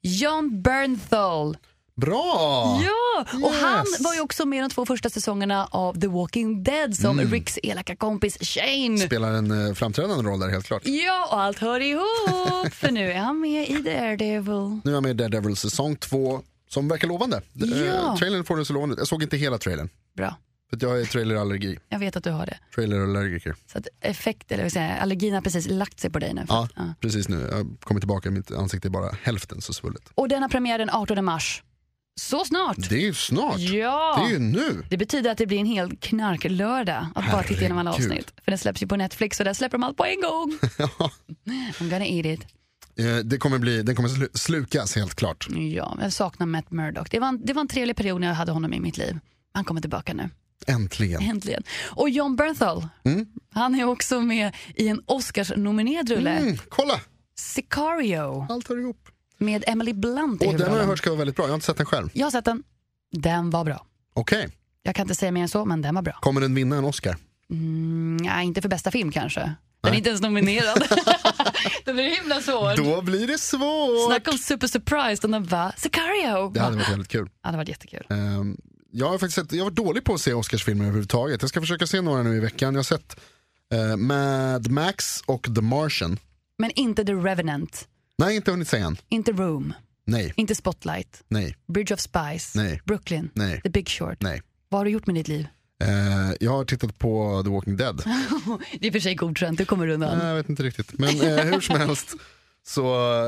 [SPEAKER 2] John Bernthal.
[SPEAKER 1] Bra!
[SPEAKER 2] Ja! Och han
[SPEAKER 1] Yes.
[SPEAKER 2] var ju också med i de två första säsongerna av The Walking Dead som
[SPEAKER 1] Mm.
[SPEAKER 2] Ricks elaka kompis Shane.
[SPEAKER 1] Spelar en eh, framträdande roll där helt klart.
[SPEAKER 2] Ja, och allt hör ihop för nu är han med i Daredevil.
[SPEAKER 1] Nu är jag med i Daredevil säsong 2 som verkar lovande. D- eh,
[SPEAKER 2] Ja.
[SPEAKER 1] trailern får den så lovande ut. Jag såg inte hela trailern.
[SPEAKER 2] Bra,
[SPEAKER 1] För att jag är trailerallergi.
[SPEAKER 2] jag vet att du har det.
[SPEAKER 1] Trailerallergiker.
[SPEAKER 2] Så att effekt, eller vad säger jag, allergin har precis lagt sig på dig nu.
[SPEAKER 1] Ja,
[SPEAKER 2] Ja.
[SPEAKER 1] precis nu. Jag kommer tillbaka. Mitt ansikte är bara hälften så svullet.
[SPEAKER 2] Och den har premiär den 18 mars. Så snart!
[SPEAKER 1] Det är ju snart.
[SPEAKER 2] Ja!
[SPEAKER 1] Det är ju nu.
[SPEAKER 2] Det betyder att det blir en hel knarklördag att bara titta igenom alla
[SPEAKER 1] Herregud.
[SPEAKER 2] avsnitt. För den släpps ju på Netflix och där släpper de allt på en gång. I'm gonna eat it.
[SPEAKER 1] Eh, Det kommer bli, den kommer slu- slukas helt klart.
[SPEAKER 2] Ja, jag saknar Matt Murdock. Det var, en, det var en trevlig period när jag hade honom i mitt liv. Han kommer tillbaka nu,
[SPEAKER 1] Äntligen.
[SPEAKER 2] äntligen. Och John Bernthal,
[SPEAKER 1] Mm.
[SPEAKER 2] han är också med i en Oscars-nominerad rulle,
[SPEAKER 1] Mm, kolla,
[SPEAKER 2] Sicario,
[SPEAKER 1] allt hör ihop.
[SPEAKER 2] med Emily Blunt i
[SPEAKER 1] Och den har jag
[SPEAKER 2] huvudrollen.
[SPEAKER 1] hört ska vara väldigt bra. Jag har inte sett den själv.
[SPEAKER 2] Jag har sett den. Den var bra.
[SPEAKER 1] Okej,
[SPEAKER 2] Jag kan inte säga mer än så, men den var bra.
[SPEAKER 1] kommer den vinna en Oscar?
[SPEAKER 2] Mm, nej, inte för bästa film kanske. Den är inte ens nominerad. den blir himla svår.
[SPEAKER 1] Då blir det svårt.
[SPEAKER 2] Snacka om super surprised om den var Sicario.
[SPEAKER 1] Det hade varit väldigt kul.
[SPEAKER 2] Ja, det var jättekul.
[SPEAKER 1] Ehm, jag har faktiskt sett, jag har varit dålig på att se Oscarsfilmer överhuvudtaget. Jag ska försöka se några nu i veckan. Jag har sett eh, Mad Max och The Martian.
[SPEAKER 2] Men inte The Revenant,
[SPEAKER 1] Nej, inte hunnit se än.
[SPEAKER 2] inte Room,
[SPEAKER 1] Nej,
[SPEAKER 2] inte Spotlight,
[SPEAKER 1] nej,
[SPEAKER 2] Bridge of Spies,
[SPEAKER 1] Nej.
[SPEAKER 2] Brooklyn,
[SPEAKER 1] Nej.
[SPEAKER 2] The Big Short.
[SPEAKER 1] nej.
[SPEAKER 2] Vad har du gjort med ditt liv?
[SPEAKER 1] Eh, jag har tittat på The Walking Dead.
[SPEAKER 2] Det är i och för sig godkänt, du kommer undan.
[SPEAKER 1] Nej, jag vet inte riktigt. Men eh, hur som helst. Så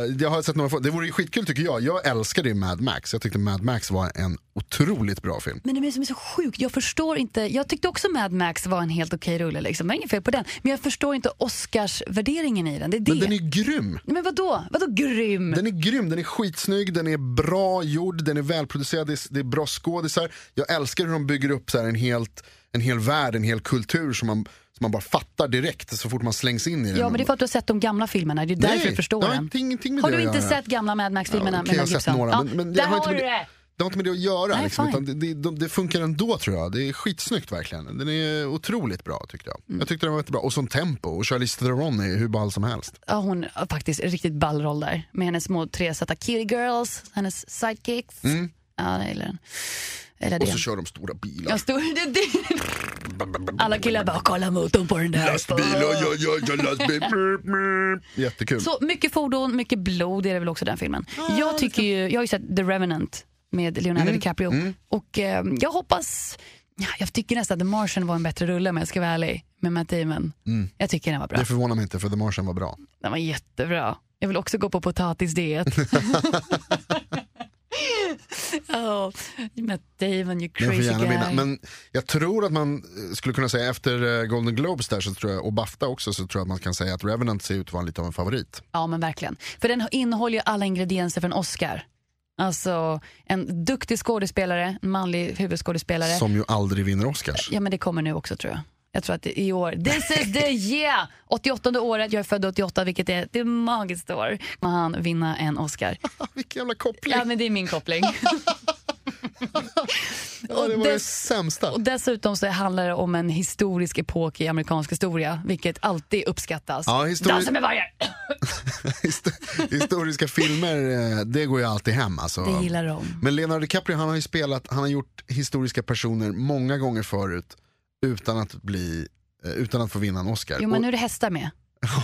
[SPEAKER 1] eh, jag har sett några få- Det vore ju skitkul tycker jag. Jag älskade ju Mad Max. Jag tyckte Mad Max var en otroligt bra film.
[SPEAKER 2] Men det är som är så sjukt, jag förstår inte. Jag tyckte också Mad Max var en helt okej rulle, liksom. det var inget fel på den. Men jag förstår inte Oscarsvärderingen i den. Det är det.
[SPEAKER 1] Men den är grym.
[SPEAKER 2] Nej, Men vadå? Vadå grym?
[SPEAKER 1] Den är grym, den är skitsnygg, den är bra gjord, den är välproducerad, det är, det är bra skådisar. Jag älskar hur de bygger upp så här en, helt, en hel värld, en hel kultur som man, som man bara fattar direkt så fort man slängs in i den.
[SPEAKER 2] Ja, men det är för att du har sett de gamla filmerna. Det är därför
[SPEAKER 1] Nej,
[SPEAKER 2] du förstår
[SPEAKER 1] det har
[SPEAKER 2] den.
[SPEAKER 1] ingenting med
[SPEAKER 2] har
[SPEAKER 1] det
[SPEAKER 2] du
[SPEAKER 1] att
[SPEAKER 2] inte
[SPEAKER 1] göra.
[SPEAKER 2] sett gamla Mad Max-filmerna med
[SPEAKER 1] Okej, jag
[SPEAKER 2] Mel
[SPEAKER 1] har sett
[SPEAKER 2] Gibson?
[SPEAKER 1] några,
[SPEAKER 2] liksom- Ja,
[SPEAKER 1] men, men
[SPEAKER 2] där
[SPEAKER 1] det, har inte
[SPEAKER 2] har
[SPEAKER 1] med
[SPEAKER 2] du
[SPEAKER 1] det,
[SPEAKER 2] det!
[SPEAKER 1] det har inte med det att göra.
[SPEAKER 2] Nej,
[SPEAKER 1] liksom,
[SPEAKER 2] fine.
[SPEAKER 1] utan det, det, de- det funkar ändå tror jag. Det är skitsnyggt verkligen. Den är otroligt bra tyckte jag.
[SPEAKER 2] Mm.
[SPEAKER 1] Jag tyckte den var jättebra. Och som tempo. Och Charlize Theron är hur ball som helst.
[SPEAKER 2] Ja, hon har faktiskt en riktigt ball roll där. Med hennes små tre söta kitty girls, hennes sidekicks. Ja, jag gillar den. Eller
[SPEAKER 1] Och
[SPEAKER 2] det.
[SPEAKER 1] så kör de stora bilar.
[SPEAKER 2] Jag stod, det, det. Alla killar bara “kolla motorn på den där”.
[SPEAKER 1] Lastbil, oj, oj, oj, oj, lastbil. Brr, brr. Jättekul.
[SPEAKER 2] Så mycket fordon, mycket blod är det väl också den filmen. jag, tycker ju, jag har ju sett The Revenant med Leonardo DiCaprio. Och eh, jag hoppas... ja, Jag tycker nästan att The Martian var en bättre rulle om jag ska vara ärlig. Med Matt Damon. Jag tycker den var bra.
[SPEAKER 1] Det förvånar mig inte för The Martian var bra.
[SPEAKER 2] Den var jättebra. Jag vill också gå på potatisdiet. Oh, Matt Damon, you
[SPEAKER 1] Den får
[SPEAKER 2] crazy
[SPEAKER 1] gärna
[SPEAKER 2] guy.
[SPEAKER 1] vinna. Men jag tror att man eh, skulle kunna säga efter eh, Golden Globes där så tror jag, och Bafta också så tror jag att man kan säga att Revenant ser ut att vara lite av en favorit.
[SPEAKER 2] Ja, men verkligen. För den innehåller ju alla ingredienser för en Oscar. Alltså, en duktig skådespelare, en manlig huvudskådespelare.
[SPEAKER 1] Som ju aldrig vinner Oscars.
[SPEAKER 2] Ja, men det kommer nu också tror jag. Jag tror att det- i år, this is the year! 88 året, jag är född 88 vilket är ett magiskt år. Kommer han vinna en Oscar?
[SPEAKER 1] Vilken jävla koppling.
[SPEAKER 2] Ja, men det är min koppling.
[SPEAKER 1] Ja, det
[SPEAKER 2] och
[SPEAKER 1] var det
[SPEAKER 2] dess-
[SPEAKER 1] sämsta.
[SPEAKER 2] Och dessutom så handlar det om en historisk epok i amerikansk historia, vilket alltid uppskattas.
[SPEAKER 1] Ja, histori-
[SPEAKER 2] Dansa med vargar!
[SPEAKER 1] Histo- Historiska filmer, eh, det går ju alltid hem alltså.
[SPEAKER 2] Det gillar de.
[SPEAKER 1] Men Leonardo DiCaprio han har ju spelat, han har gjort historiska personer många gånger förut utan att bli eh, utan att få vinna en Oscar.
[SPEAKER 2] Jo, men nu är det hästar med.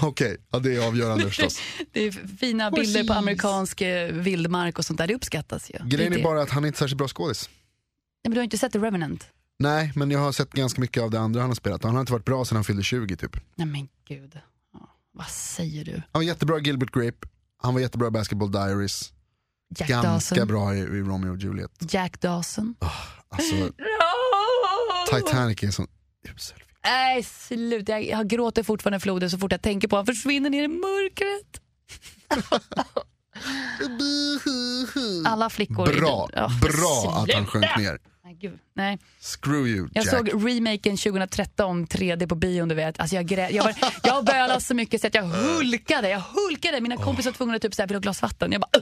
[SPEAKER 1] Och- Okej, ja, det är avgörande förstås.
[SPEAKER 2] Det är fina bilder på amerikansk eh, vildmark och sånt där. Det uppskattas ju.
[SPEAKER 1] Grejen
[SPEAKER 2] det
[SPEAKER 1] är
[SPEAKER 2] det.
[SPEAKER 1] bara att han är inte särskilt bra skådis.
[SPEAKER 2] Nej, men du har inte sett The Revenant?
[SPEAKER 1] Nej, men jag har sett ganska mycket av det andra han har spelat. Han har inte varit bra sedan han fyllde 20 typ.
[SPEAKER 2] Nej men gud. Ja, vad säger du?
[SPEAKER 1] Han var jättebra i Gilbert Grape, han var jättebra i Basketball Diaries,
[SPEAKER 2] Jack
[SPEAKER 1] ganska
[SPEAKER 2] Dawson?
[SPEAKER 1] bra i, i Romeo och Juliet.
[SPEAKER 2] Jack Dawson?
[SPEAKER 1] Alltså,
[SPEAKER 2] Oh.
[SPEAKER 1] Titanic är en sån usel film.
[SPEAKER 2] Nej, sluta. Jag, jag gråter fortfarande floden så fort jag tänker på honom. Försvinner ner i mörkret. Alla flickor. i
[SPEAKER 1] Bra,
[SPEAKER 2] den- Ja,
[SPEAKER 1] bra att han sjönk ner.
[SPEAKER 2] Nej, gud. Nej.
[SPEAKER 1] Screw you
[SPEAKER 2] Jag
[SPEAKER 1] Jack.
[SPEAKER 2] såg remaken 2013, 3D på bio om du vet. Alltså jag, grä... jag, var... jag bölade så mycket så att jag
[SPEAKER 1] Äh.
[SPEAKER 2] hulkade. Jag hulkade. Mina kompisar var tvungna att typ så här, vill du ha ett glas vatten? Jag bara...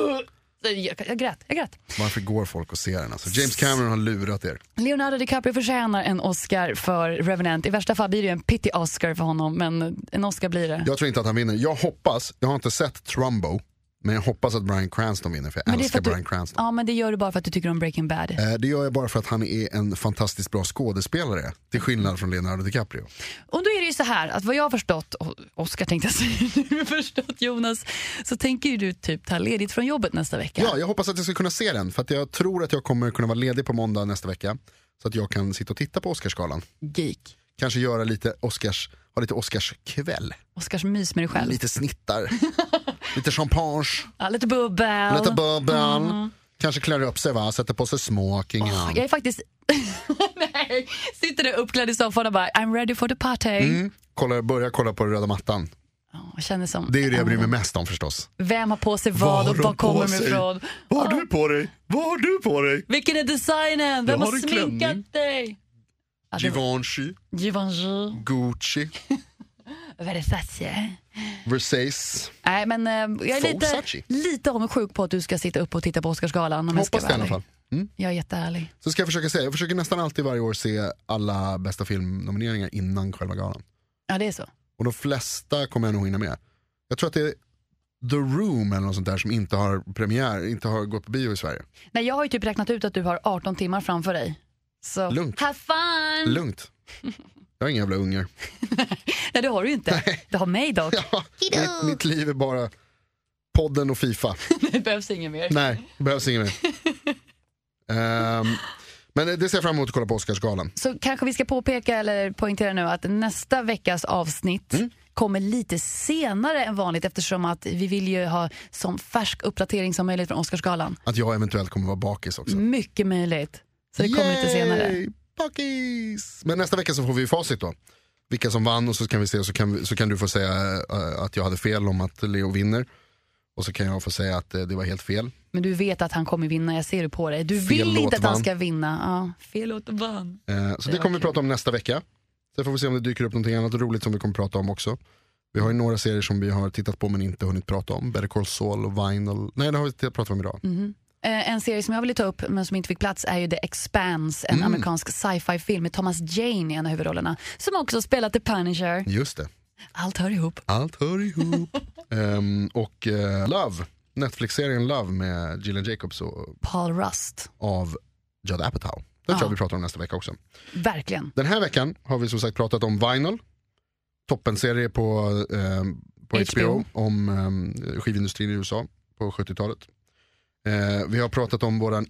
[SPEAKER 2] "Uh, uh." Så Jag, jag grät. Jag grät.
[SPEAKER 1] Varför går folk och ser den? Alltså, James Cameron har lurat er.
[SPEAKER 2] Leonardo DiCaprio förtjänar en Oscar för Revenant. I värsta fall blir det ju en pity Oscar för honom, men en Oscar blir det.
[SPEAKER 1] Jag tror inte att han vinner. Jag hoppas, jag har inte sett Trumbo, men jag hoppas att Bryan Cranston vinner för jag
[SPEAKER 2] Men det är för
[SPEAKER 1] älskar
[SPEAKER 2] att du-
[SPEAKER 1] Bryan Cranston.
[SPEAKER 2] Ja, men det gör du bara för att du tycker om Breaking Bad.
[SPEAKER 1] Eh, Det gör jag bara för att han är en fantastiskt bra skådespelare, till skillnad från Leonardo DiCaprio.
[SPEAKER 2] Och då är det ju så här att vad jag har förstått, och Oscar tänkte jag säga, nu har jag förstått Jonas, så tänker ju du typ ta ledigt från jobbet nästa vecka.
[SPEAKER 1] Ja, jag hoppas att jag ska kunna se den, för att jag tror att jag kommer kunna vara ledig på måndag nästa vecka. Så att jag kan sitta och titta på Oscarsgalan.
[SPEAKER 2] Geek.
[SPEAKER 1] Kanske göra lite Oscars, ha lite Oscarskväll.
[SPEAKER 2] Oscars mys med dig själv.
[SPEAKER 1] Lite snittar, lite champagne,
[SPEAKER 2] Ja, lite bubbel.
[SPEAKER 1] lite bubbel. Kanske klär upp sig, va? sätter på sig smoking.
[SPEAKER 2] jag är faktiskt... Nej, sitter där uppklädd i soffan och bara I'm ready for the party.
[SPEAKER 1] Mm. Kolla, börja kolla på den röda mattan.
[SPEAKER 2] Ja, och känner som,
[SPEAKER 1] Det är ju det jag bryr mig
[SPEAKER 2] Mm.
[SPEAKER 1] mest om förstås.
[SPEAKER 2] Vem har på sig vad och var kommer de ifrån? Ah,
[SPEAKER 1] Vad har du på dig? Vad har du på dig?
[SPEAKER 2] Vilken är designen?
[SPEAKER 1] Jag
[SPEAKER 2] Vem har,
[SPEAKER 1] har en
[SPEAKER 2] sminkat
[SPEAKER 1] klänning.
[SPEAKER 2] dig? Ja, det var-
[SPEAKER 1] Givenchy,
[SPEAKER 2] Givenchy.
[SPEAKER 1] Gucci,
[SPEAKER 2] Versace.
[SPEAKER 1] Versace.
[SPEAKER 2] Nej, men eh, jag är lite,
[SPEAKER 1] Versace.
[SPEAKER 2] lite avundsjuk på att du ska sitta upp och titta på Oscarsgalan. Om jag ska
[SPEAKER 1] Hoppas det i
[SPEAKER 2] vara
[SPEAKER 1] alla
[SPEAKER 2] ärlig.
[SPEAKER 1] fall. Mm.
[SPEAKER 2] Jag är jätteärlig.
[SPEAKER 1] Så ska jag försöka säga, jag försöker nästan alltid varje år se alla bästa filmnomineringar innan själva galan.
[SPEAKER 2] Ja, det är så.
[SPEAKER 1] Och de flesta kommer jag nog hinna med. Jag tror att det är The Room eller något sånt där som inte har premiär, inte har gått på bio i Sverige.
[SPEAKER 2] Nej, jag har ju typ räknat ut att du har 18 timmar framför dig. Så
[SPEAKER 1] Lugnt.
[SPEAKER 2] have fun!
[SPEAKER 1] Lugnt. Jag har inga jävla ungar.
[SPEAKER 2] Nej, det har du ju inte. Du har mig dock.
[SPEAKER 1] Ja, mitt, mitt liv är bara podden och Fifa.
[SPEAKER 2] Det behövs inget mer.
[SPEAKER 1] Nej, det behövs inget mer. Ehm, men det ser jag fram emot att kolla på Oscarsgalan.
[SPEAKER 2] Så kanske vi ska påpeka eller poängtera nu att nästa veckas avsnitt
[SPEAKER 1] Mm.
[SPEAKER 2] kommer lite senare än vanligt eftersom att vi vill ju ha sån färsk uppdatering som möjligt från Oscarsgalan.
[SPEAKER 1] Att jag eventuellt kommer vara bakis också.
[SPEAKER 2] Mycket möjligt. Så det kommer lite senare.
[SPEAKER 1] Yay, Bakis! Men nästa vecka så får vi facit då. Vilka som vann och så kan vi se så kan, vi, så kan du få säga eh, att jag hade fel om att Leo vinner. Och så kan jag få säga att eh, det var helt fel.
[SPEAKER 2] Men du vet att han kommer vinna, jag ser det på dig. Du
[SPEAKER 1] Fel
[SPEAKER 2] vill
[SPEAKER 1] låt
[SPEAKER 2] inte att han
[SPEAKER 1] vann.
[SPEAKER 2] ska vinna. Ja, fel låt vann.
[SPEAKER 1] Eh, Så
[SPEAKER 2] Det
[SPEAKER 1] det
[SPEAKER 2] var
[SPEAKER 1] kommer
[SPEAKER 2] kul.
[SPEAKER 1] vi prata om nästa vecka. Sen får vi se om det dyker upp någonting annat roligt som vi kommer prata om också. Vi har ju några serier som vi har tittat på men inte hunnit prata om. Better Call Saul och Vinyl. Nej, det har vi inte pratat om idag.
[SPEAKER 2] Eh, En serie som jag ville ta upp men som inte fick plats är ju The Expanse,
[SPEAKER 1] Mm.
[SPEAKER 2] en amerikansk sci-fi film med Thomas Jane i en av huvudrollerna som också spelat The Punisher.
[SPEAKER 1] Just det.
[SPEAKER 2] Allt hör ihop.
[SPEAKER 1] Allt hör ihop. Ehm, och eh, Love, Netflix-serien Love med Gillian Jacobs och,
[SPEAKER 2] Paul Rust.
[SPEAKER 1] av Judd Apatow. Den tror
[SPEAKER 2] Ja.
[SPEAKER 1] jag vi pratar om nästa vecka också.
[SPEAKER 2] Verkligen.
[SPEAKER 1] Den här veckan har vi som sagt pratat om Vinyl, toppenserie på, ehm, på HBO.
[SPEAKER 2] HBO.
[SPEAKER 1] om ehm, skivindustrin i USA på 70-talet. Eh, vi har pratat om våran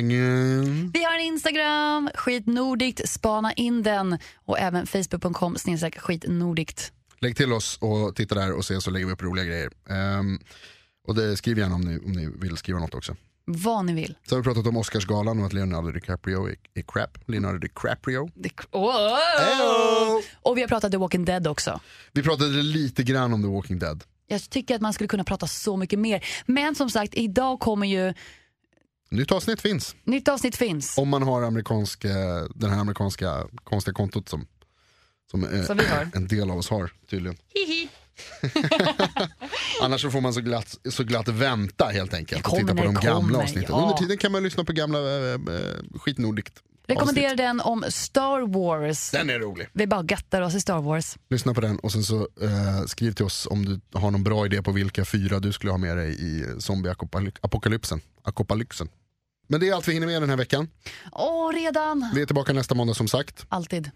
[SPEAKER 1] Instagram.
[SPEAKER 2] Vi har en Instagram, skitnordikt, spana in den och även facebook.com snedstreck skitnordikt.
[SPEAKER 1] Lägg till oss och titta där och se så lägger vi upp roliga grejer. Ehm, och det, skriv gärna om ni, om ni vill skriva något också.
[SPEAKER 2] Vad ni vill.
[SPEAKER 1] Så har vi pratat om Oscarsgalan och att Leonardo DiCaprio är, är crap. Leonardo DiCaprio.
[SPEAKER 2] Det, Åh!
[SPEAKER 1] Heyo!
[SPEAKER 2] Och vi har pratat The Walking Dead också.
[SPEAKER 1] Vi pratade lite grann om The Walking Dead.
[SPEAKER 2] Jag tycker att man skulle kunna prata så mycket mer. Men som sagt, idag kommer ju...
[SPEAKER 1] Nytt avsnitt finns.
[SPEAKER 2] Nytt avsnitt finns.
[SPEAKER 1] Om man har amerikansk, eh, den här amerikanska konstiga kontot som, som, eh,
[SPEAKER 2] Som vi har.
[SPEAKER 1] en del av oss har tydligen. Annars så får man så glatt, så glatt vänta helt enkelt.
[SPEAKER 2] Det
[SPEAKER 1] Och titta på
[SPEAKER 2] kommer,
[SPEAKER 1] de
[SPEAKER 2] det
[SPEAKER 1] gamla
[SPEAKER 2] kommer,
[SPEAKER 1] avsnitten.
[SPEAKER 2] ja.
[SPEAKER 1] Under tiden kan man lyssna på gamla eh, eh, skitnordigt
[SPEAKER 2] Rekommenderar
[SPEAKER 1] avsnitt.
[SPEAKER 2] den om Star Wars.
[SPEAKER 1] Den är rolig.
[SPEAKER 2] Vi bara gattar oss i Star Wars.
[SPEAKER 1] Lyssna på den och sen så eh, skriv till oss om du har någon bra idé på vilka fyra du skulle ha med dig i zombieapokalypsen. Apokalypsen. Men det är allt vi hinner med den här veckan.
[SPEAKER 2] Åh, redan!
[SPEAKER 1] Vi är tillbaka nästa måndag som sagt.
[SPEAKER 2] Alltid.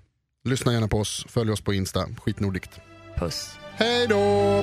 [SPEAKER 1] Lyssna gärna på oss, följ oss på Insta, skitnordigt.
[SPEAKER 2] Puss.
[SPEAKER 1] Hej då!